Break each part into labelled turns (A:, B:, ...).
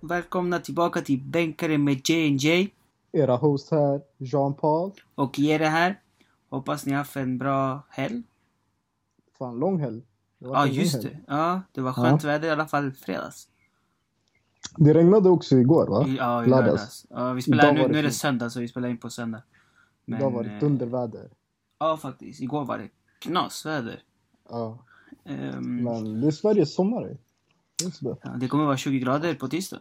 A: Välkomna tillbaka till Bänkaren med JNJ
B: Era host här, Jean-Paul.
A: och Jere här. Hoppas ni har haft en bra helg.
B: Fan, lång helg. Det var
A: Ja,
B: en lång
A: just
B: helg.
A: det. Ja, det var skönt väder i alla fall fredags.
B: Det regnade också igår va?
A: Ja, i
B: Lördags.
A: lördags. Ja, vi spelar,
B: Idag
A: nu,
B: var det
A: nu är det
B: fint.
A: söndag, så vi spelar in på söndag. Men,
B: det har varit
A: eh,
B: dunderväder.
A: Ja, faktiskt. Igår var det knasväder.
B: Ja.
A: Ehm,
B: Men det är Sveriges sommar. ju. Det är så bra.
A: ja, det kommer vara 20 grader på tisdag.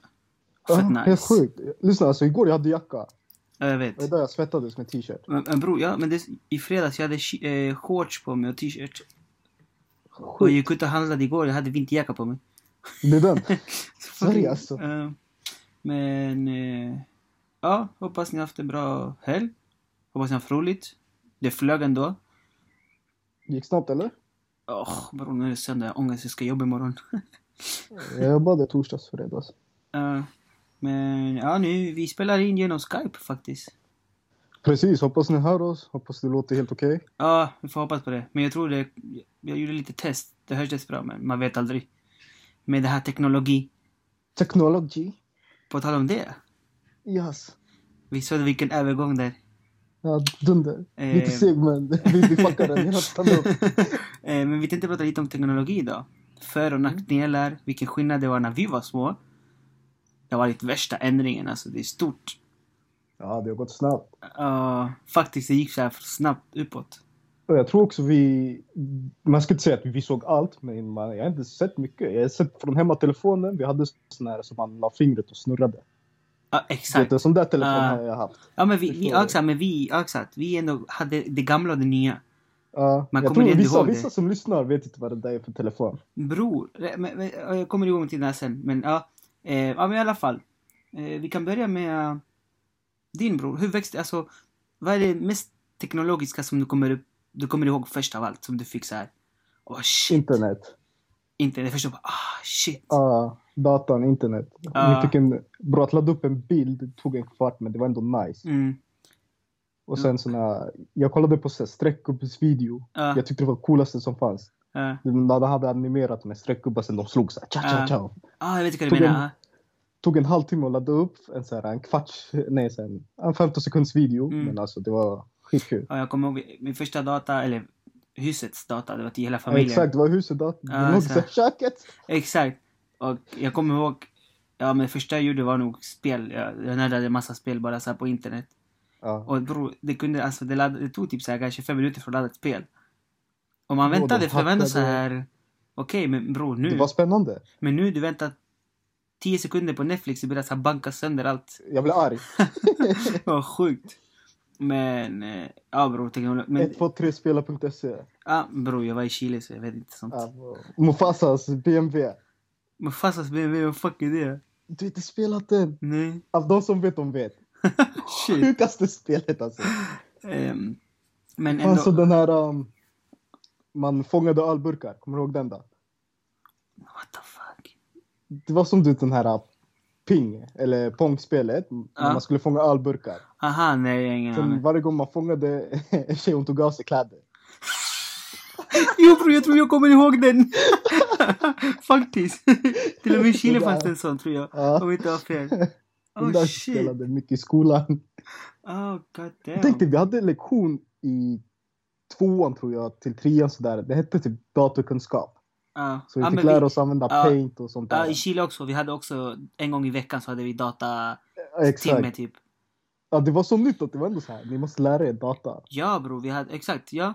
B: Ja,
A: Fett
B: Helt
A: nice.
B: sjukt. Lyssna, alltså igår jag hade jacka.
A: Ja, jag vet.
B: Och idag jag svettades med t-shirt.
A: Men, men bror, ja, men det, i fredags jag hade shi- eh, shorts på mig och t-shirt. Och jag
B: Sjukt.
A: gick ut och handlade igår, jag hade vinterjacka på mig.
B: Det är den. Sverige alltså.
A: Eh, men... eh, ja, hoppas ni har haft en bra helg. Hoppas ni har haft roligt. Det flög ändå.
B: Gick snabbt eller?
A: Åh, bror nu är det söndag, jag har ångest, jag ska jobba imorgon.
B: Jag jobbade torsdags fredags.
A: Eh, men ja, nu, vi spelar in genom Skype faktiskt.
B: Precis, hoppas ni hör oss. Hoppas det låter helt okej.
A: Ja, vi får hoppas på det. Men jag tror det, jag gjorde lite test. Det hördes bra, men man vet aldrig. Med det här teknologi.
B: Technology.
A: På tal om det.
B: Yes.
A: Vi såg vilken övergång där.
B: Ja, dunder.
A: Eh.
B: Lite seg men vi, vi fuckar den. Hela standup.
A: Eh, Men vi tänkte prata lite om teknologi idag. För
B: Mm.
A: och nackdelar, vilken skillnad det var när vi var små. Det har varit värsta ändringen, alltså det är stort.
B: Ja, det har gått snabbt.
A: Ja, faktiskt, det gick så här snabbt uppåt.
B: Och jag tror också vi... Man ska inte säga att vi såg allt, men man, jag har inte sett mycket. Jag har sett från hemmatelefonen. Vi hade sån här som man la fingret och snurrade.
A: Ja,
B: Vet
A: Ah, exakt.
B: du, en sån där telefon
A: Ah.
B: har jag haft.
A: Ja, men vi, vi,
B: Förstår
A: ja,
B: du?
A: exakt, men vi, ja, exakt. Vi ändå hade det gamla och det nya.
B: Ja,
A: Man
B: jag
A: kommer
B: tror
A: inte
B: vissa,
A: ihåg det.
B: vissa som lyssnar vet inte vad det där är för telefon.
A: Bror, eh, men, men, ja, jag kommer ihåg till det här sen, men ja. Eh, ja, men i alla fall. Eh, vi kan börja med eh, din bror. Hur växte, alltså, vad är det mest teknologiska som du kommer, upp- du kommer ihåg först av allt? Som du fick så här. Åh shit.
B: Internet.
A: Internet. Först jag bara, ah shit.
B: Ja, datan, internet.
A: Ah.
B: Vi fick en... Bra, att ladda upp en bild det tog en kvart, men det var ändå nice.
A: Mm,
B: Och sen såna... Jag kollade på så här streckgubbsvideo.
A: ja,
B: Jag tyckte det var det coolaste som fanns.
A: ja.
B: De hade animerat med streckgubbar sen de slog så här. Tja,
A: Ah.
B: tja, tja.
A: ah, jag vet inte vad
B: Tog
A: du
B: en-
A: menar.
B: tog en halvtimme att ladda upp en, så här, en kvarts, nej så här, en 15 sekunds video.
A: Mm.
B: Men alltså det var skitkul.
A: Ja, jag kommer ihåg min första data, eller husets data, det var till hela
B: Ja,
A: familjen.
B: exakt, det var huset då.
A: Ja,
B: Det låg
A: så
B: så
A: här.
B: här, köket.
A: Exakt. Och jag kommer ihåg, ja men första jag gjorde var nog spel. Jag, jag nördade en massa spel bara så här på internet.
B: Ja.
A: Och bror, det kunde alltså, det, ladd, det tog typ så här kanske fem minuter för att ladda ett spel. Och man
B: Jo, de
A: väntade för det var ändå så
B: hackade.
A: här. Okej, men bror
B: Det
A: nu.
B: var spännande.
A: Men nu du väntar 10 sekunder på Netflix och börjar så här banka sönder allt.
B: Jag blev arg.
A: Vad sjukt. Men, eh, ja bror, teknologi. Men,
B: 123spela.se.
A: ja bror, jag var i Chile så jag vet inte sånt.
B: Ja, Mufasas BMW.
A: Men fastas BMW, vad fuck är det?
B: Du har inte spelat den.
A: Nej.
B: Av de som vet, de vet.
A: Shit.
B: Sjukaste spelet alltså.
A: Ehm, men ändå.
B: Alltså den här... Um, man fångade ölburkar. Kommer du ihåg den då?
A: What the fuck?
B: Det var som du vet, den här uh, Ping, eller Pong-spelet.
A: Ja.
B: När man skulle fånga ölburkar.
A: Aha, nej jag har ingen
B: Sen
A: aning.
B: varje gång man fångade en tjej hon tog av sig kläder.
A: Jo bror, jag tror jag kommer ihåg den! Faktiskt. Till och med i Chile
B: Det
A: fanns
B: där.
A: det en sån tror jag.
B: Ja.
A: Om jag inte har fel.
B: Den där
A: Oh shit.
B: spelade mycket i skolan.
A: Oh god
B: Jag tänkte
A: damn.
B: vi hade en lektion i tvåan tror jag till trean sådär. Det hette typ datorkunskap.
A: Ja.
B: Så vi
A: Ja,
B: fick
A: Ah. men
B: lära oss använda
A: ja.
B: paint och sånt
A: Ja, i
B: där.
A: Chile också. Vi hade också en gång i veckan så hade vi datatimme
B: Ja, exakt.
A: typ.
B: Ja, det var så nytt att det var ändå så här. Ni måste lära er data.
A: Ja bror, vi hade, exakt, ja.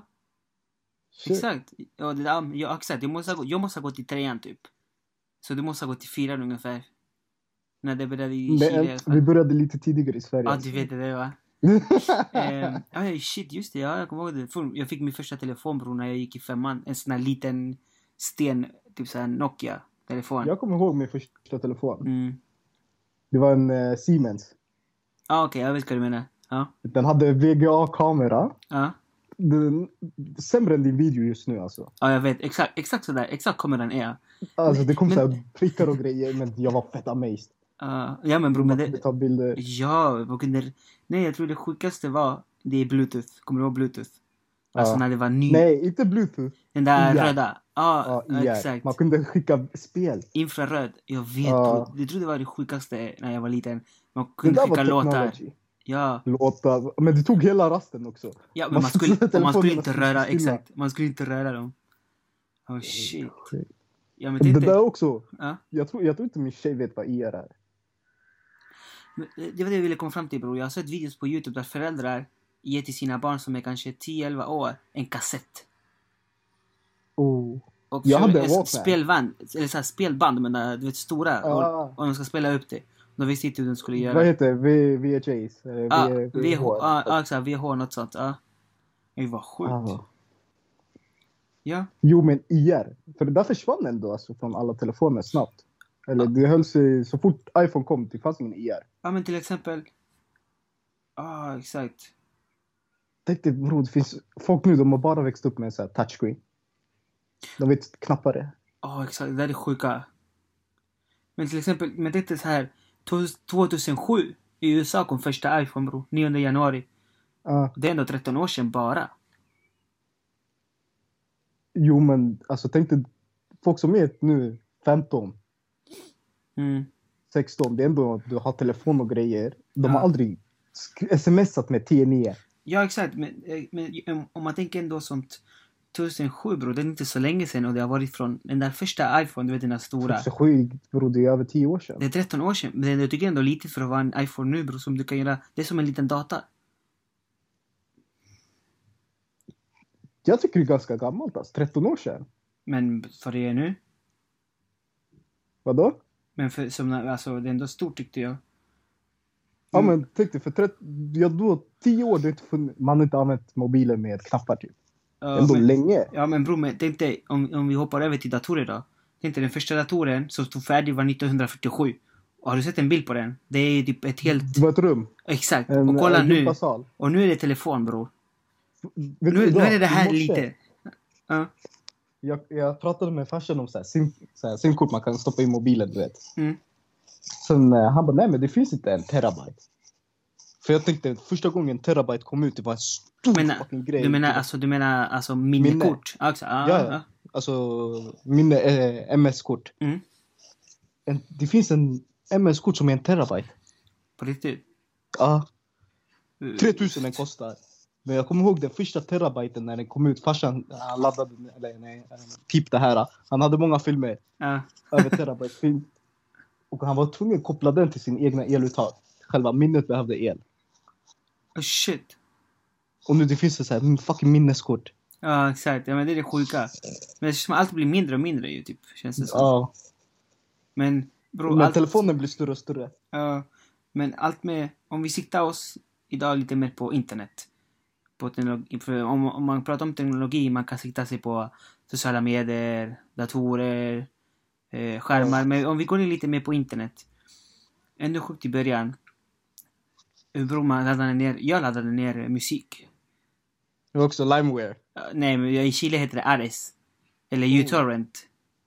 B: Shit.
A: Exakt. Ja, det, ja, ja, exakt. Jag måste, ha, gått- jag måste ha gått i trean typ. Så du måste ha gått i fyran ungefär. När det började i Chile i alla
B: Men, eh,
A: fall.
B: vi började lite tidigare i Sverige.
A: Ja, du vet det där va? Ehm, ja, shit, just det. Ja, jag kommer ihåg det. För- Jag fick min första telefon bror när jag gick i femman. En sån här liten sten, typ såhär Nokia-telefon. Ja,
B: jag kommer ihåg min första telefon.
A: mm.
B: Det var en eh, Siemens.
A: ah, okej, jag vet vad du menar. Ja,
B: Den hade VGA-kamera.
A: ja.
B: Den, sämre än din video just nu alltså.
A: Ja, jag vet. Exakt, exakt sådär. Exakt kommer den är.
B: Alltså det kom
A: Men-
B: så här prickar och grejer men jag var fett amazed.
A: Uh, ja, men bror, men
B: Man kunde
A: det...
B: ta bilder.
A: Ja, vad kunde... Nej, jag tror det sjukaste var... Det är bluetooth. Kommer du ihåg bluetooth? Alltså
B: Ja.
A: när det var ny.
B: Nej, inte bluetooth.
A: Den där
B: Ja.
A: röda. Ja,
B: Ja, IR.
A: exakt.
B: Man kunde skicka spel.
A: Infraröd. Jag vet
B: Ja.
A: bror. Jag tror det var det sjukaste när jag var liten. Man
B: Det
A: kunde
B: där
A: skicka
B: var
A: låtar.
B: technology.
A: Ja,
B: Låtar. Men det tog hela rasten också.
A: ja men
B: Man
A: man
B: skulle
A: skulle,
B: sätta
A: och man skulle
B: telefonen
A: inte
B: och
A: röra,
B: stilla.
A: exakt. Man skulle inte röra dem. Oh shit.
B: Sjukt.
A: Ja men
B: Det
A: tänk dig.
B: där också.
A: Ja.
B: Jag tror, jag tror inte min tjej vet vad IR är.
A: Men, eh, Det var det jag ville komma fram till bror. Jag har sett videos på Youtube där föräldrar ger till sina barn som är kanske 10-11 år en kassett.
B: Oh.
A: Och
B: Jag
A: så-
B: hade en
A: eh,
B: Walkman.
A: spelband, eller så här spelband men eh, du vet stora. Och,
B: Ah,
A: och de ska spela upp det. De visste inte hur de skulle göra.
B: vad heter det? V- VHS? eh,
A: Ja,
B: V-
A: VH,
B: VH.
A: ja ja, ah, exakt, VH något sånt. Ja. Det var sjukt.
B: Ah.
A: Ja,
B: Jo men IR. För det där försvann ändå alltså, från alla telefoner snabbt.
A: Ah.
B: Eller det höll sig, så fort iPhone kom det fanns ingen IR.
A: ja men till exempel. Ja, exakt.
B: Tänk dig bror, det finns folk nu de har bara växt upp med en sån här touchscreen. De vet knappar det.
A: Ja, Ah, exakt. Det där är sjuka. Men till exempel, men det är så här. 2007 i USA kom första iPhone bro. 9 januari.
B: Ah,
A: Det är ändå 13 år sedan bara.
B: jo men alltså tänk dig folk som är nu 15,
A: Mm.
B: 16. Det är ändå att du har telefon och grejer. De har
A: Ja.
B: aldrig sk- smsat med 10-9.
A: Ja, exakt. Men, eh, men om- om man tänker ändå sånt. 2007 bro, det är inte så länge sedan och det har varit från den där första iPhone, du vet den där stora.
B: 2007 Typ bror det är över 10 år sedan.
A: Det är 13 år sedan, men jag tycker ändå lite för att vara en iPhone nu bro, som du kan göra. Det är som en liten data.
B: Jag tycker det är ganska gammalt alltså, 13 år sedan.
A: Men för det är nu.
B: Vadå?
A: Men för, som, alltså, det är ändå stort tyckte jag.
B: Ja
A: Mm.
B: men tänk dig för 30, ja, då, 10 år, det har inte funnits, man har inte använt mobiler med knappar typ.
A: Ja,
B: Ändå
A: men,
B: länge.
A: ja men bror, men tänk dig om, om vi hoppar över till datorer då. Tänk dig den första datoren som stod färdig var 1947. Och har du sett en bild på den? Det är typ ett helt...
B: Det var ett rum.
A: Exakt.
B: En,
A: Och kolla
B: en
A: nu.
B: Sal.
A: Och nu är det telefon bror.
B: Vet
A: Nu,
B: du,
A: nu
B: idag,
A: är det här
B: i morse,
A: lite... Ja.
B: Jag, jag pratade med farsan om så här, sim, så här, simkort man kan stoppa i mobilen du vet.
A: Mm.
B: Sen eh, han bara nej men det finns inte en terabyte. För jag tänkte första gången terabyte kom ut det var en stor
A: Menar-
B: fucking grej.
A: eh,
B: Typ,
A: Du menar alltså, du menar alltså minikort? Ja, Ah, exakt. Ja,
B: Ja,
A: ja.
B: ja. Alltså minne, eh, MS-kort.
A: Mm.
B: En, det finns en MS-kort som är en terabyte.
A: På riktigt.
B: Ja. 3000 den kostar. Men jag kommer ihåg den första terabyten när den kom ut. Farsan han laddade, den- eller nej, han pip det här. Han hade många filmer,
A: Ja.
B: över terabyte film. Och han var tvungen att koppla den till sin egna eluttag. Själva minnet behövde el.
A: Oh, shit.
B: Och nu det finns det så här fucking minneskort.
A: Ja, exakt. Ja, men det är det sjuka. Men det känns som att allt blir mindre och mindre ju, typ. Känns det som.
B: Ja.
A: Men, bror,
B: Men
A: allt...
B: telefonen blir större och större.
A: ja, men allt med... Om vi siktar oss idag lite mer på internet. På teknologi, för om, om man pratar om teknologi, man kan sikta sig på sociala medier, datorer, eh, skärmar. Men om vi går in lite mer på internet. Ändå sjukt i början. Hur bror man laddade ner... Jag laddade ner eh, musik.
B: Det var också Limeware.
A: Ja, Eh, Nej, men i Chile heter det RS. Eller U-Torrent.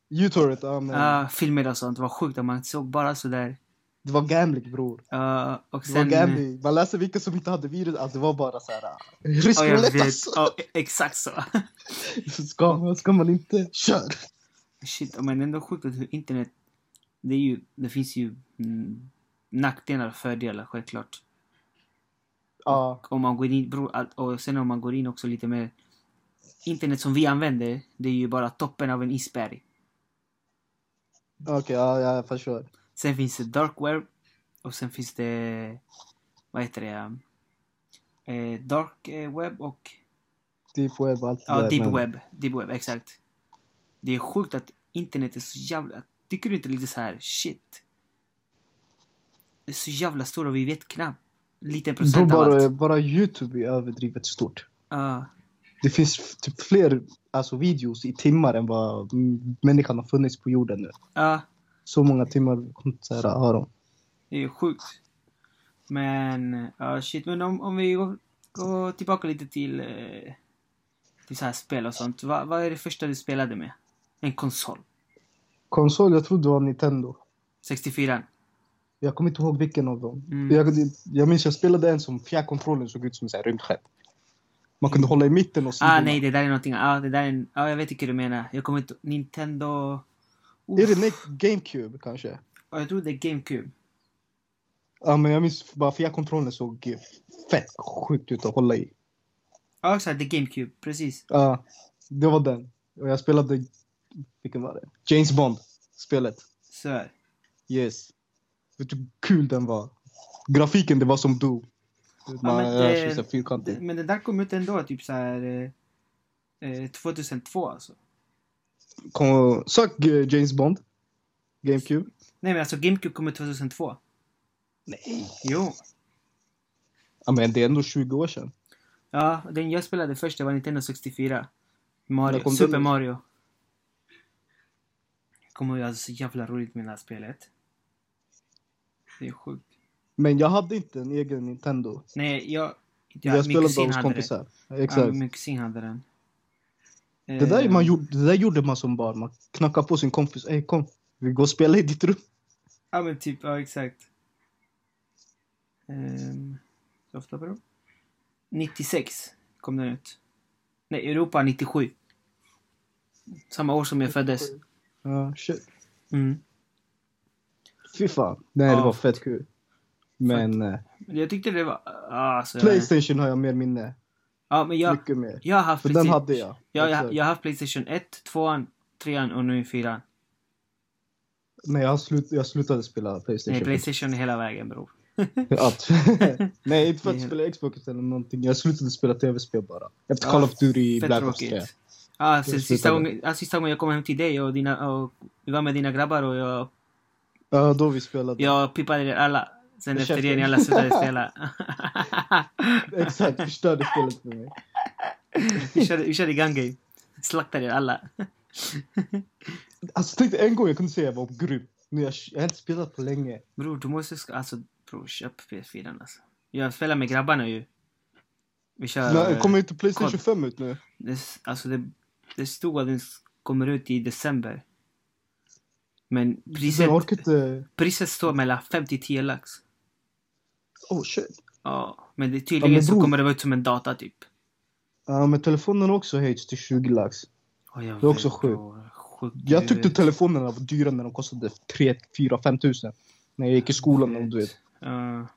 B: Utorrent, Oh. ja men.
A: Ja, filmer och sånt. Det var sjukt. att Man såg bara sådär.
B: Det var gambling bror.
A: Ja, och
B: Det var
A: sen...
B: gambling. Man läste vilka som inte hade virus. Alltså det var bara så här. ah, Rysk
A: Ja, jag
B: roulette
A: vet.
B: alltså.
A: Ja, e- exakt så.
B: Ska, man- ska man inte? Kör!
A: Shit, men ändå sjukt att hur internet... Det, är ju, det finns ju mm, nackdelar och fördelar självklart.
B: Ja.
A: Om man går in, bro, allt- och sen om man går in också lite mer... Internet som vi använder, det är ju bara toppen av en isberg.
B: Okej, ja, ja, jag förstår.
A: Sen finns det dark web och sen finns det... Vad heter det? um, Eh, dark eh, web och...
B: Deep web och allt det
A: Ja,
B: där,
A: deep
B: men-
A: web. Deep web, exakt. Det är sjukt att internet är så jävla... Tycker du inte lite så här, shit? Det är så jävla stort och vi vet knappt liten
B: Då
A: procent av
B: bara,
A: allt.
B: bara Youtube är överdrivet stort.
A: Ja,
B: Det finns f- typ fler alltså, videos i timmar än vad mm, människan har funnits på jorden nu.
A: ja,
B: Så många timmar så här, har de.
A: det är sjukt. Men, ja shit. Men om, om vi går, går tillbaka lite till, eh, till så här spel och sånt. Va, vad är det första du spelade med? En konsol?
B: Konsol, jag trodde det var Nintendo.
A: 64?
B: Jag kommer inte ihåg vilken av dem.
A: Mm.
B: Jag, jag minns jag spelade en som fjärrkontrollen såg ut som en så här rymdskepp. Man kunde hålla i mitten och
A: Ah
B: sidorna.
A: nej, det där är någonting. Ah, det där är en... ah, jag vet inte hur du menar. Jag kommer inte... Nintendo... Uff.
B: Är det Nick- GameCube kanske?
A: Ja, jag tror det är GameCube.
B: Ja, men jag minns bara fjärrkontrollen såg fett sjukt ut att hålla i.
A: Ja, exakt. Det är GameCube. Precis.
B: Ja, det var den. Och jag spelade, vilken var det? James Bond-spelet.
A: Så här.
B: Yes. Vet du hur kul den var? Grafiken, det var som du. Man
A: men
B: rör
A: det-
B: sig så här
A: Det-
B: fyrkantigt.
A: Men den där kom ut ändå typ så här... eh, Eh, 2002 alltså.
B: Kom, sök eh, James Bond. GameCube.
A: Nej men alltså GameCube kom ut 2002.
B: Nej.
A: Jo.
B: Ja, men det är ändå 20 år sedan.
A: Ja, den jag spelade först det var Nintendo 64.
B: När
A: Mario,
B: kom
A: Super
B: den?
A: Mario. Jag kommer ihåg alltså så jävla roligt med det här spelet. Det är sjukt.
B: Men jag hade inte en egen Nintendo.
A: Nej, jag... inte
B: jag spelade
A: kusin
B: hos
A: hade det.
B: kompisar. Exakt.
A: Ja, eh, min kusin hade den. Ehm,
B: det, där man gjorde, det där gjorde man som barn. Man knackade på sin kompis. Ey kom, vi går och spelar i ditt rum.
A: Ja men typ, ja exakt. Ehm, hur ofta var det? 96 kom den ut. Nej, Europa 97. Samma år som jag föddes.
B: Ja, shit.
A: Mm.
B: Fy fan. Nej,
A: Ja.
B: det var fett kul. Men eh,
A: Men Jag tyckte det var... ah, Alltså,
B: Playstation har jag mer minne.
A: Ja, men jag,
B: Mycket mer.
A: jag har haft...
B: För den
A: Playsta-
B: hade jag.
A: Ja, jag,
B: Exakt.
A: jag har haft Playstation 1, 2, 3 och nu 4.
B: Nej, jag, slut, jag slutade spela Playstation.
A: Nej, Playstation är hela vägen bror.
B: Att. Nej, inte för att
A: Nej.
B: spela Xbox eller någonting. Jag slutade spela tv-spel bara. Efter
A: Ja,
B: Call of Duty
A: Fett
B: Black Ops 3.
A: tråkigt. Ja, sen sista
B: slutade.
A: gången, ja, sista gången jag kom hem till dig och, dina, och vi var med dina grabbar och jag,
B: Ja, då vi spelade.
A: jag pipade er alla. Sen
B: Med
A: efter det
B: käften.
A: ni alla slutade spela.
B: Exakt, förstörde spelet för mig.
A: vi, körde, vi körde gun game. Slaktade er alla.
B: Alltså tänk dig, en gång jag kunde säga jag var grym. Nu jag, jag har inte spelat på länge.
A: Bror, du måste... sk- Alltså, bror, köp PS4 alltså. Jag spelar med grabbarna ju. Vi kör...
B: Nej, kommer inte Playstation
A: kod.
B: 5 ut nu?
A: Det, alltså det, det stod att den s- kommer ut i december. Men priset,
B: Jag orkar inte...
A: priset står mellan 50-10 lax.
B: Oh shit.
A: Ja, men det, tydligen
B: men
A: så
B: bror-
A: kommer det vara ut som en data typ.
B: Ja, men telefonen också höjts till 20 lax.
A: Och jag
B: Det är också
A: vet,
B: sjukt.
A: bror, sjukt,
B: Jag
A: du
B: tyckte
A: vet.
B: telefonerna var dyra när de kostade 3, 4, 5 tusen. När jag gick i skolan och du vet.
A: Ja,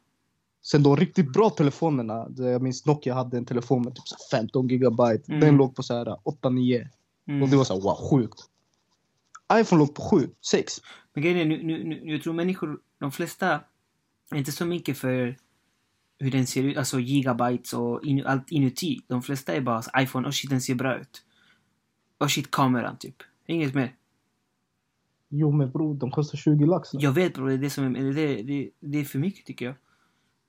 B: Sen de riktigt bra telefonerna, det- jag minns Nokia hade en telefon med typ så här 15 gigabyte.
A: Mm.
B: Den låg på så här 8-9
A: mm.
B: och det var så här, wow, sjukt. iPhone låg på 7, 6.
A: Men grejen är, nu, nu, nu, jag tror människor, de flesta, är inte så mycket för hur den ser ut, alltså gigabytes och in, allt inuti. De flesta är bara så, iPhone, och shit den ser bra ut. Och shit kameran typ. Inget mer.
B: Jo men bror, de kostar 20 lax nu.
A: Jag vet bror, det är det som är, det, det, det är för mycket tycker jag.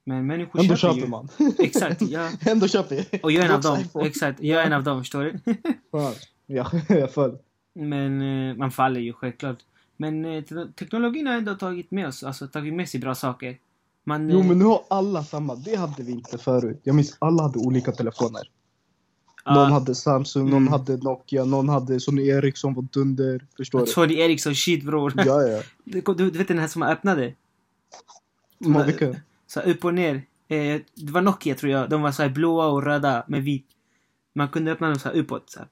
A: Men människor
B: Ändå
A: köper
B: köper
A: ju.
B: man.
A: Exakt, ja.
B: Ändå köper jag.
A: Och jag är en av
B: Också
A: dem.
B: iPhone.
A: Exakt, jag är en av dem, förstår du?
B: Fan. Ja, jag föll.
A: Men eh, man faller ju självklart. Men eh, te- teknologin har ändå tagit med oss, alltså tagit med sig bra saker. Man,
B: Jo
A: eh,
B: men nu har alla samma, det hade vi inte förut. Jag minns alla hade olika telefoner.
A: ja,
B: Någon hade Samsung, någon
A: Mm.
B: hade Nokia, någon hade Sony Ericsson var dunder. Förstår du?
A: Sony Ericsson, shit bror.
B: Ja ja.
A: Du, du, du vet den här som man öppnade?
B: Men vilka?
A: Så här, upp och ner. Eh, det var Nokia tror jag. De var så här blåa och röda med vit. Man kunde öppna dem så här uppåt. Så här.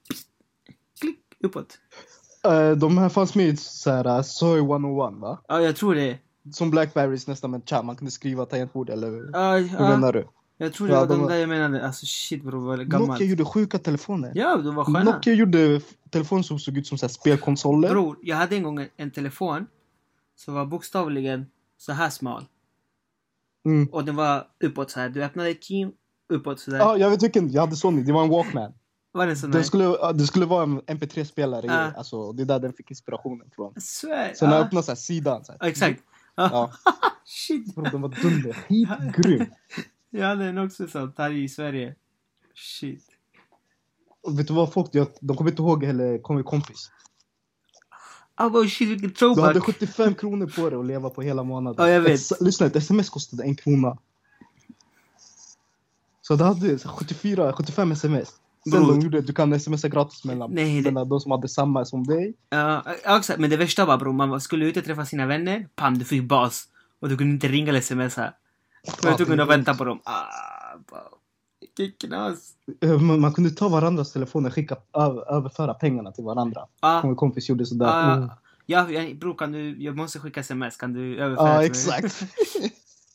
A: Klick, uppåt.
B: Eh, De här fanns med i så här, eh, Soy 101 va?
A: Ja, jag tror det.
B: Som Blackberries nästan men tja, man kunde skriva tangentbord eller hur
A: Ja, ja,
B: menar du?
A: jag tror det
B: Ja,
A: var
B: de
A: de
B: var-
A: där jag menade. Alltså shit bror, vad gammalt.
B: Nokia gjorde sjuka telefoner.
A: Ja, de var sköna.
B: Nokia gjorde f- telefoner som såg ut som så här spelkonsoler.
A: Bror, jag hade en gång en, en telefon som var bokstavligen så här smal.
B: Mm.
A: Och den var uppåt så här. Du öppnade kim, uppåt så där.
B: Ja, jag vet vilken. Jag hade Sony. Det var en Walkman.
A: Var den sån
B: Den
A: där?
B: skulle, ja, det skulle vara en MP3-spelare i.
A: Ja.
B: Alltså, det är där den fick inspirationen från.
A: Svär.
B: Sen när jag
A: ja.
B: öppnade så här sidan. Så här.
A: ja, exakt.
B: Ja,
A: Shit.
B: bror, den var dunder. Skitgrym.
A: Jag hade den också sånt här i Sverige. Shit.
B: Och vet du vad folk gör? De kommer inte ihåg heller Kom i kompis.
A: Ah, vad shit vilken
B: Du hade
A: throwback.
B: 75 kronor på dig att leva på hela månaden.
A: Ja, jag vet.
B: Ett, lyssna, ett sms kostade en krona. Så det hade så här 74, 75 sms. Sen
A: Bror.
B: de gjorde, du kan smsa gratis mellan,
A: Nej, det-
B: mellan de som hade samma som dig.
A: Ja, ja, exakt. Men det värsta var bror, man var- skulle ut och träffa sina vänner. Pam, du fick bas. Och du kunde inte ringa eller smsa. Men
B: Ja,
A: du
B: det är
A: kunde
B: grymt.
A: vänta på dem. Ah, bara- Vilken knas.
C: Eh, Man, man kunde ta varandras telefoner och skicka, ö- överföra pengarna till varandra.
A: Ah,
C: Kommer kompis gjorde sådär.
A: ah,
C: Mm.
A: ja, ja, bror kan du, jag måste skicka sms, kan du överföra
C: Ja,
A: till mig?
C: Ah, exakt.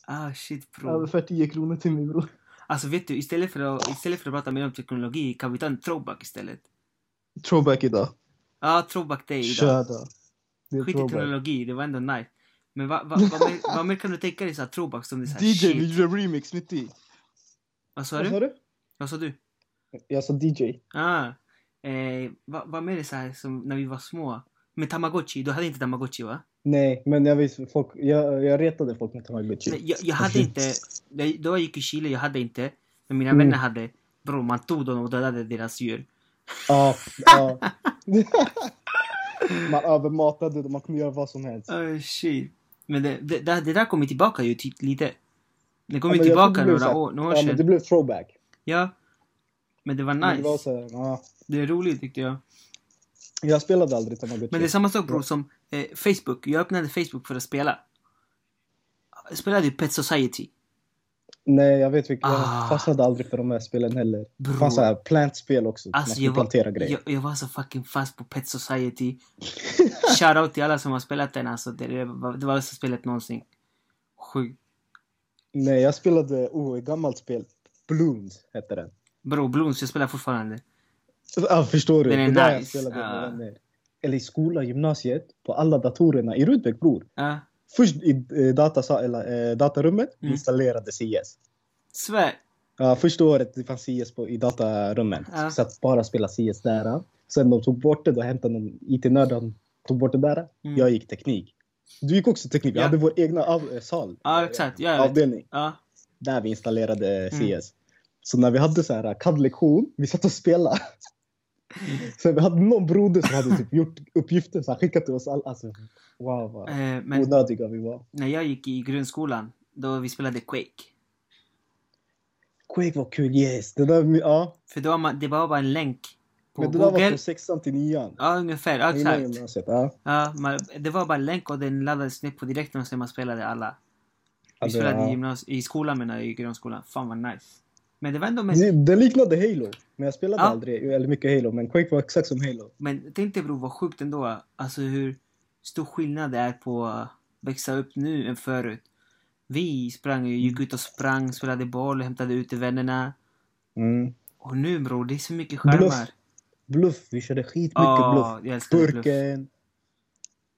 A: Ah shit bror.
C: Överför 10 kronor till mig bror.
A: Alltså vet du, istället för att, istället för att prata mer om teknologi kan vi ta en throwback istället.
C: Throwback idag.
A: Ja, ah, throwback day idag.
C: Kör då. Det är
A: Skit i
C: throwback.
A: teknologi, det var ändå nice. Men vad va, va, vad mer- vad mer kan du tänka dig såhär throwback som det är såhär
C: DJ, vi
A: shit?
C: gjorde remix mitt i.
A: Vad sa du?
C: du?
A: Vad sa du?
C: Jag sa DJ.
A: Ah, eh, vad, vad mer är såhär som när vi var små? Med Tamagotchi, du hade inte Tamagotchi va?
B: Nej, men jag, visste, folk, jag, jag retade folk med Tamagotchi.
A: Nej, jag, jag hade inte, jag- då jag gick i Chile, jag hade inte. Men mina
B: Mm.
A: vänner hade. Bror, man tog dem och dödade deras djur.
B: Ja, ja.
C: Man övermatade och man kunde göra vad som helst.
A: Oh, shit. Men det, det, det, det där kommer tillbaka ju typ lite. Det
B: Ja,
A: kommer
B: men jag tror
A: tillbaka
B: det blev så
A: några
B: här-
A: år, några år
B: ja, men det
A: sedan.
B: blev throwback.
A: Ja. Men det var
B: Men
A: nice.
B: Det var så här, ja.
A: Det är roligt tyckte jag.
B: Jag spelade aldrig Tamagotchi.
A: Men det är samma sak bror som eh, Facebook. Jag öppnade Facebook för att spela. Jag spelade ju Pet Society.
B: Nej, jag vet vilka.
A: Ah.
B: Jag fastnade aldrig för de här spelen heller. Det
A: Bror.
B: fanns så här plantspel också.
A: Alltså,
B: man
A: jag
B: skulle
A: var-
B: plantera grejer.
A: Jag, jag var så fucking fast på Pet Society. Shoutout till alla som har spelat den alltså. Det, det var det bästa spelet någonsin. Sjukt.
B: Nej, jag spelade oh, ett gammalt spel. Blooms hette den.
A: Bror, Blooms, jag spelar fortfarande.
B: Ja, förstår du?
A: Den är
B: Det där jag
A: nice. Ah.
B: spelade med
A: Ja.
B: vänner. Eller i skolan, gymnasiet, på alla datorerna i Rudbeck bror.
A: Ja.
B: Först i eh, datasa, eller, eh, datarummet
A: Mm.
B: installerade CS.
A: Svär.
B: Ja, första året det fanns CS på, i datarummen.
A: Ja.
B: Så att bara spela CS där. Sen de tog bort det, då hämtade någon IT-nörd, han tog bort det där.
A: Mm.
B: Jag gick teknik. Du gick också teknik, vi
A: Ja.
B: hade vår egna av, eh, sal.
A: Ja, exakt. Ja, jag vet.
B: Avdelning.
A: Ja.
B: där vi installerade CS.
A: Mm.
B: Så när vi hade så här eh, CAD-lektion, vi satt och spelade. Så vi hade någon broder som hade typ gjort uppgifter så han skickat till oss alla. Alltså, wow vad
A: Eh, men
B: onödiga vi var.
A: när jag gick i grundskolan, då vi spelade Quake.
B: Quake var kul, yes. Det där, ja.
A: För då var man, det var bara en länk på
B: Men det där var
A: Google.
B: från sexan till nian.
A: Ja, ungefär. Ja,
B: Innan
A: exakt.
B: gymnasiet. Ja.
A: Ja, man, det var bara en länk och den laddades ner på direkten och sen man spelade alla. Vi
B: Alltså,
A: spelade i,
B: ja.
A: gymnasiet, i skolan menar jag, i grundskolan. Fan vad nice. Men det var ändå mest...
B: Det- Den liknade Halo, men jag spelade
A: Ja.
B: aldrig eller mycket Halo. Men Quake var exakt som Halo.
A: Men tänk dig bror vad sjukt ändå. Alltså hur stor skillnad det är på att växa upp nu än förut. Vi sprang ju, gick ut och sprang, spelade boll, hämtade ut till vännerna.
B: Mm.
A: Och nu bror, det är så mycket
B: Bluff.
A: skärmar.
B: Bluff, vi körde skitmycket
A: Ja,
B: bluff.
A: Jag älskar bluff.
B: Burken.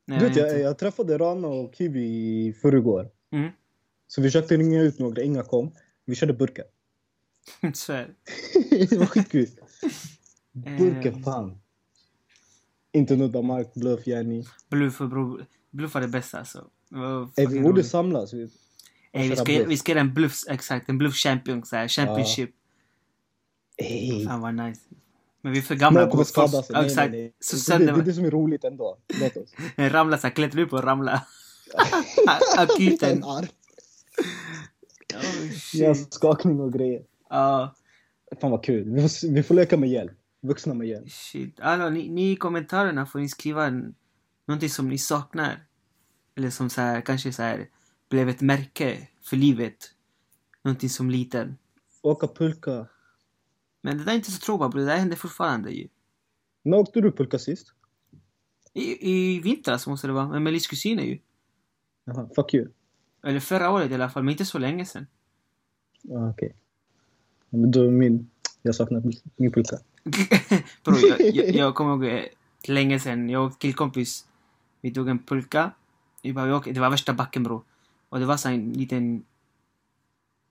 A: Nej,
B: du vet,
A: inte.
B: jag, jag träffade Rana och Kiwi i förrgår.
A: Mm.
B: Så vi försökte ringa ut några, inga kom. Vi körde burken.
A: Svär.
B: det var skitkul.
A: Eh.
B: Burken, fan. Inte nudda mark, bluff, yani.
A: Bluff och bror. Bluff var det bästa alltså. Det var
B: Ey,
A: fucking
B: vi borde
A: roligt.
B: samlas. Vi-
A: Ey, vi,
B: köra
A: ska, göra-
B: bluff.
A: vi ska göra en bluff, exakt. En bluff champion, så här, championship.
B: Ey.
A: Fan vad nice. Men vi är för gamla.
B: Någon kommer
A: bror.
B: skada sig.
A: Ja,
B: Nej, nej,
A: exakt.
B: nej.
A: Så
B: Det, det
A: sen
B: är det som är roligt ändå. Låt oss.
A: den ramlar Eh, så här, klättrar upp och ramlar. Akuten. Oh, shit.
B: Hjärnskakning och grejer.
A: Ja,
B: Fan vad kul. Vi får, vi får leka med hjälp. Vuxna med hjälp.
A: shit. Alltså, ni, ni i kommentarerna får ni skriva en, någonting som ni saknar. Eller som så här, kanske så här, blev ett märke för livet. Någonting som liten.
B: Åka pulka.
A: Men det där är inte så tråkigt bror, det där händer fortfarande ju.
B: När åkte du pulka sist?
A: I, I vintras måste det vara, men Melis kusin är ju.
B: Jaha, fuck you.
A: Eller förra året i alla fall, men inte så länge sedan.
B: Ah, Okej. Men då är min... Jag saknar min- min pulka.
A: Bro, jag, jag, jag kommer ihåg eh, länge sedan, jag och en killkompis, vi tog en pulka. Vi bara, vi åker, det var värsta backen bro. Och det var så här en liten,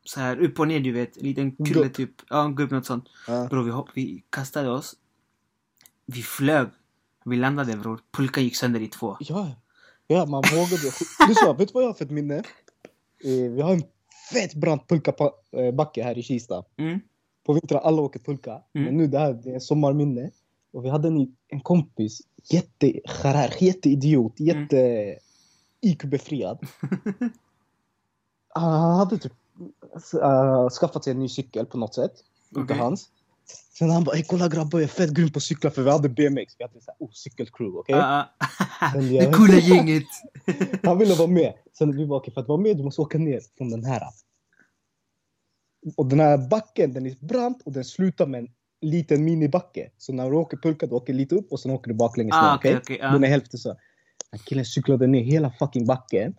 A: så här upp och ner du vet, en liten kulle
B: Gupp.
A: typ. Ja, en gubb, något sånt.
B: Ja.
A: Bro, vi, hopp, vi kastade oss. Vi flög. Vi landade bror. Pulkan gick sönder i två.
B: Ja, ja man vågade. Du sa, vet du vad jag har för ett minne? Eh, vi har en fett brant pulkabacke här i Kista.
A: Mm.
B: På vintern alla åker pulka. Men nu det här det är ett sommarminne. Och vi hade en, en kompis, jättecharär, jätteidiot,
A: Mm.
B: jätte IQ-befriad. Han hade typ eh, skaffat sig en ny cykel på något sätt. Inte
A: Okej.
B: hans. Sen han bara, "Ey, kolla grabbar jag är fett grym på cyklar för vi hade BMX. Vi hade så här, oh, cykelcrew, okej?
A: Ah, ah.
B: Den
A: det
B: gör-
A: coola gänget!
B: Han ville vara med. Sen vi bara, okej för att vara med du måste åka ner från den här. Och den här backen den är brant och den slutar med en liten minibacke. Så när du åker pulka du åker lite upp och sen åker du baklänges
A: Ah,
B: ner.
A: okej,
B: okej?
A: okej, ja.
B: Den är hälften så. Den killen cyklade ner hela fucking backen.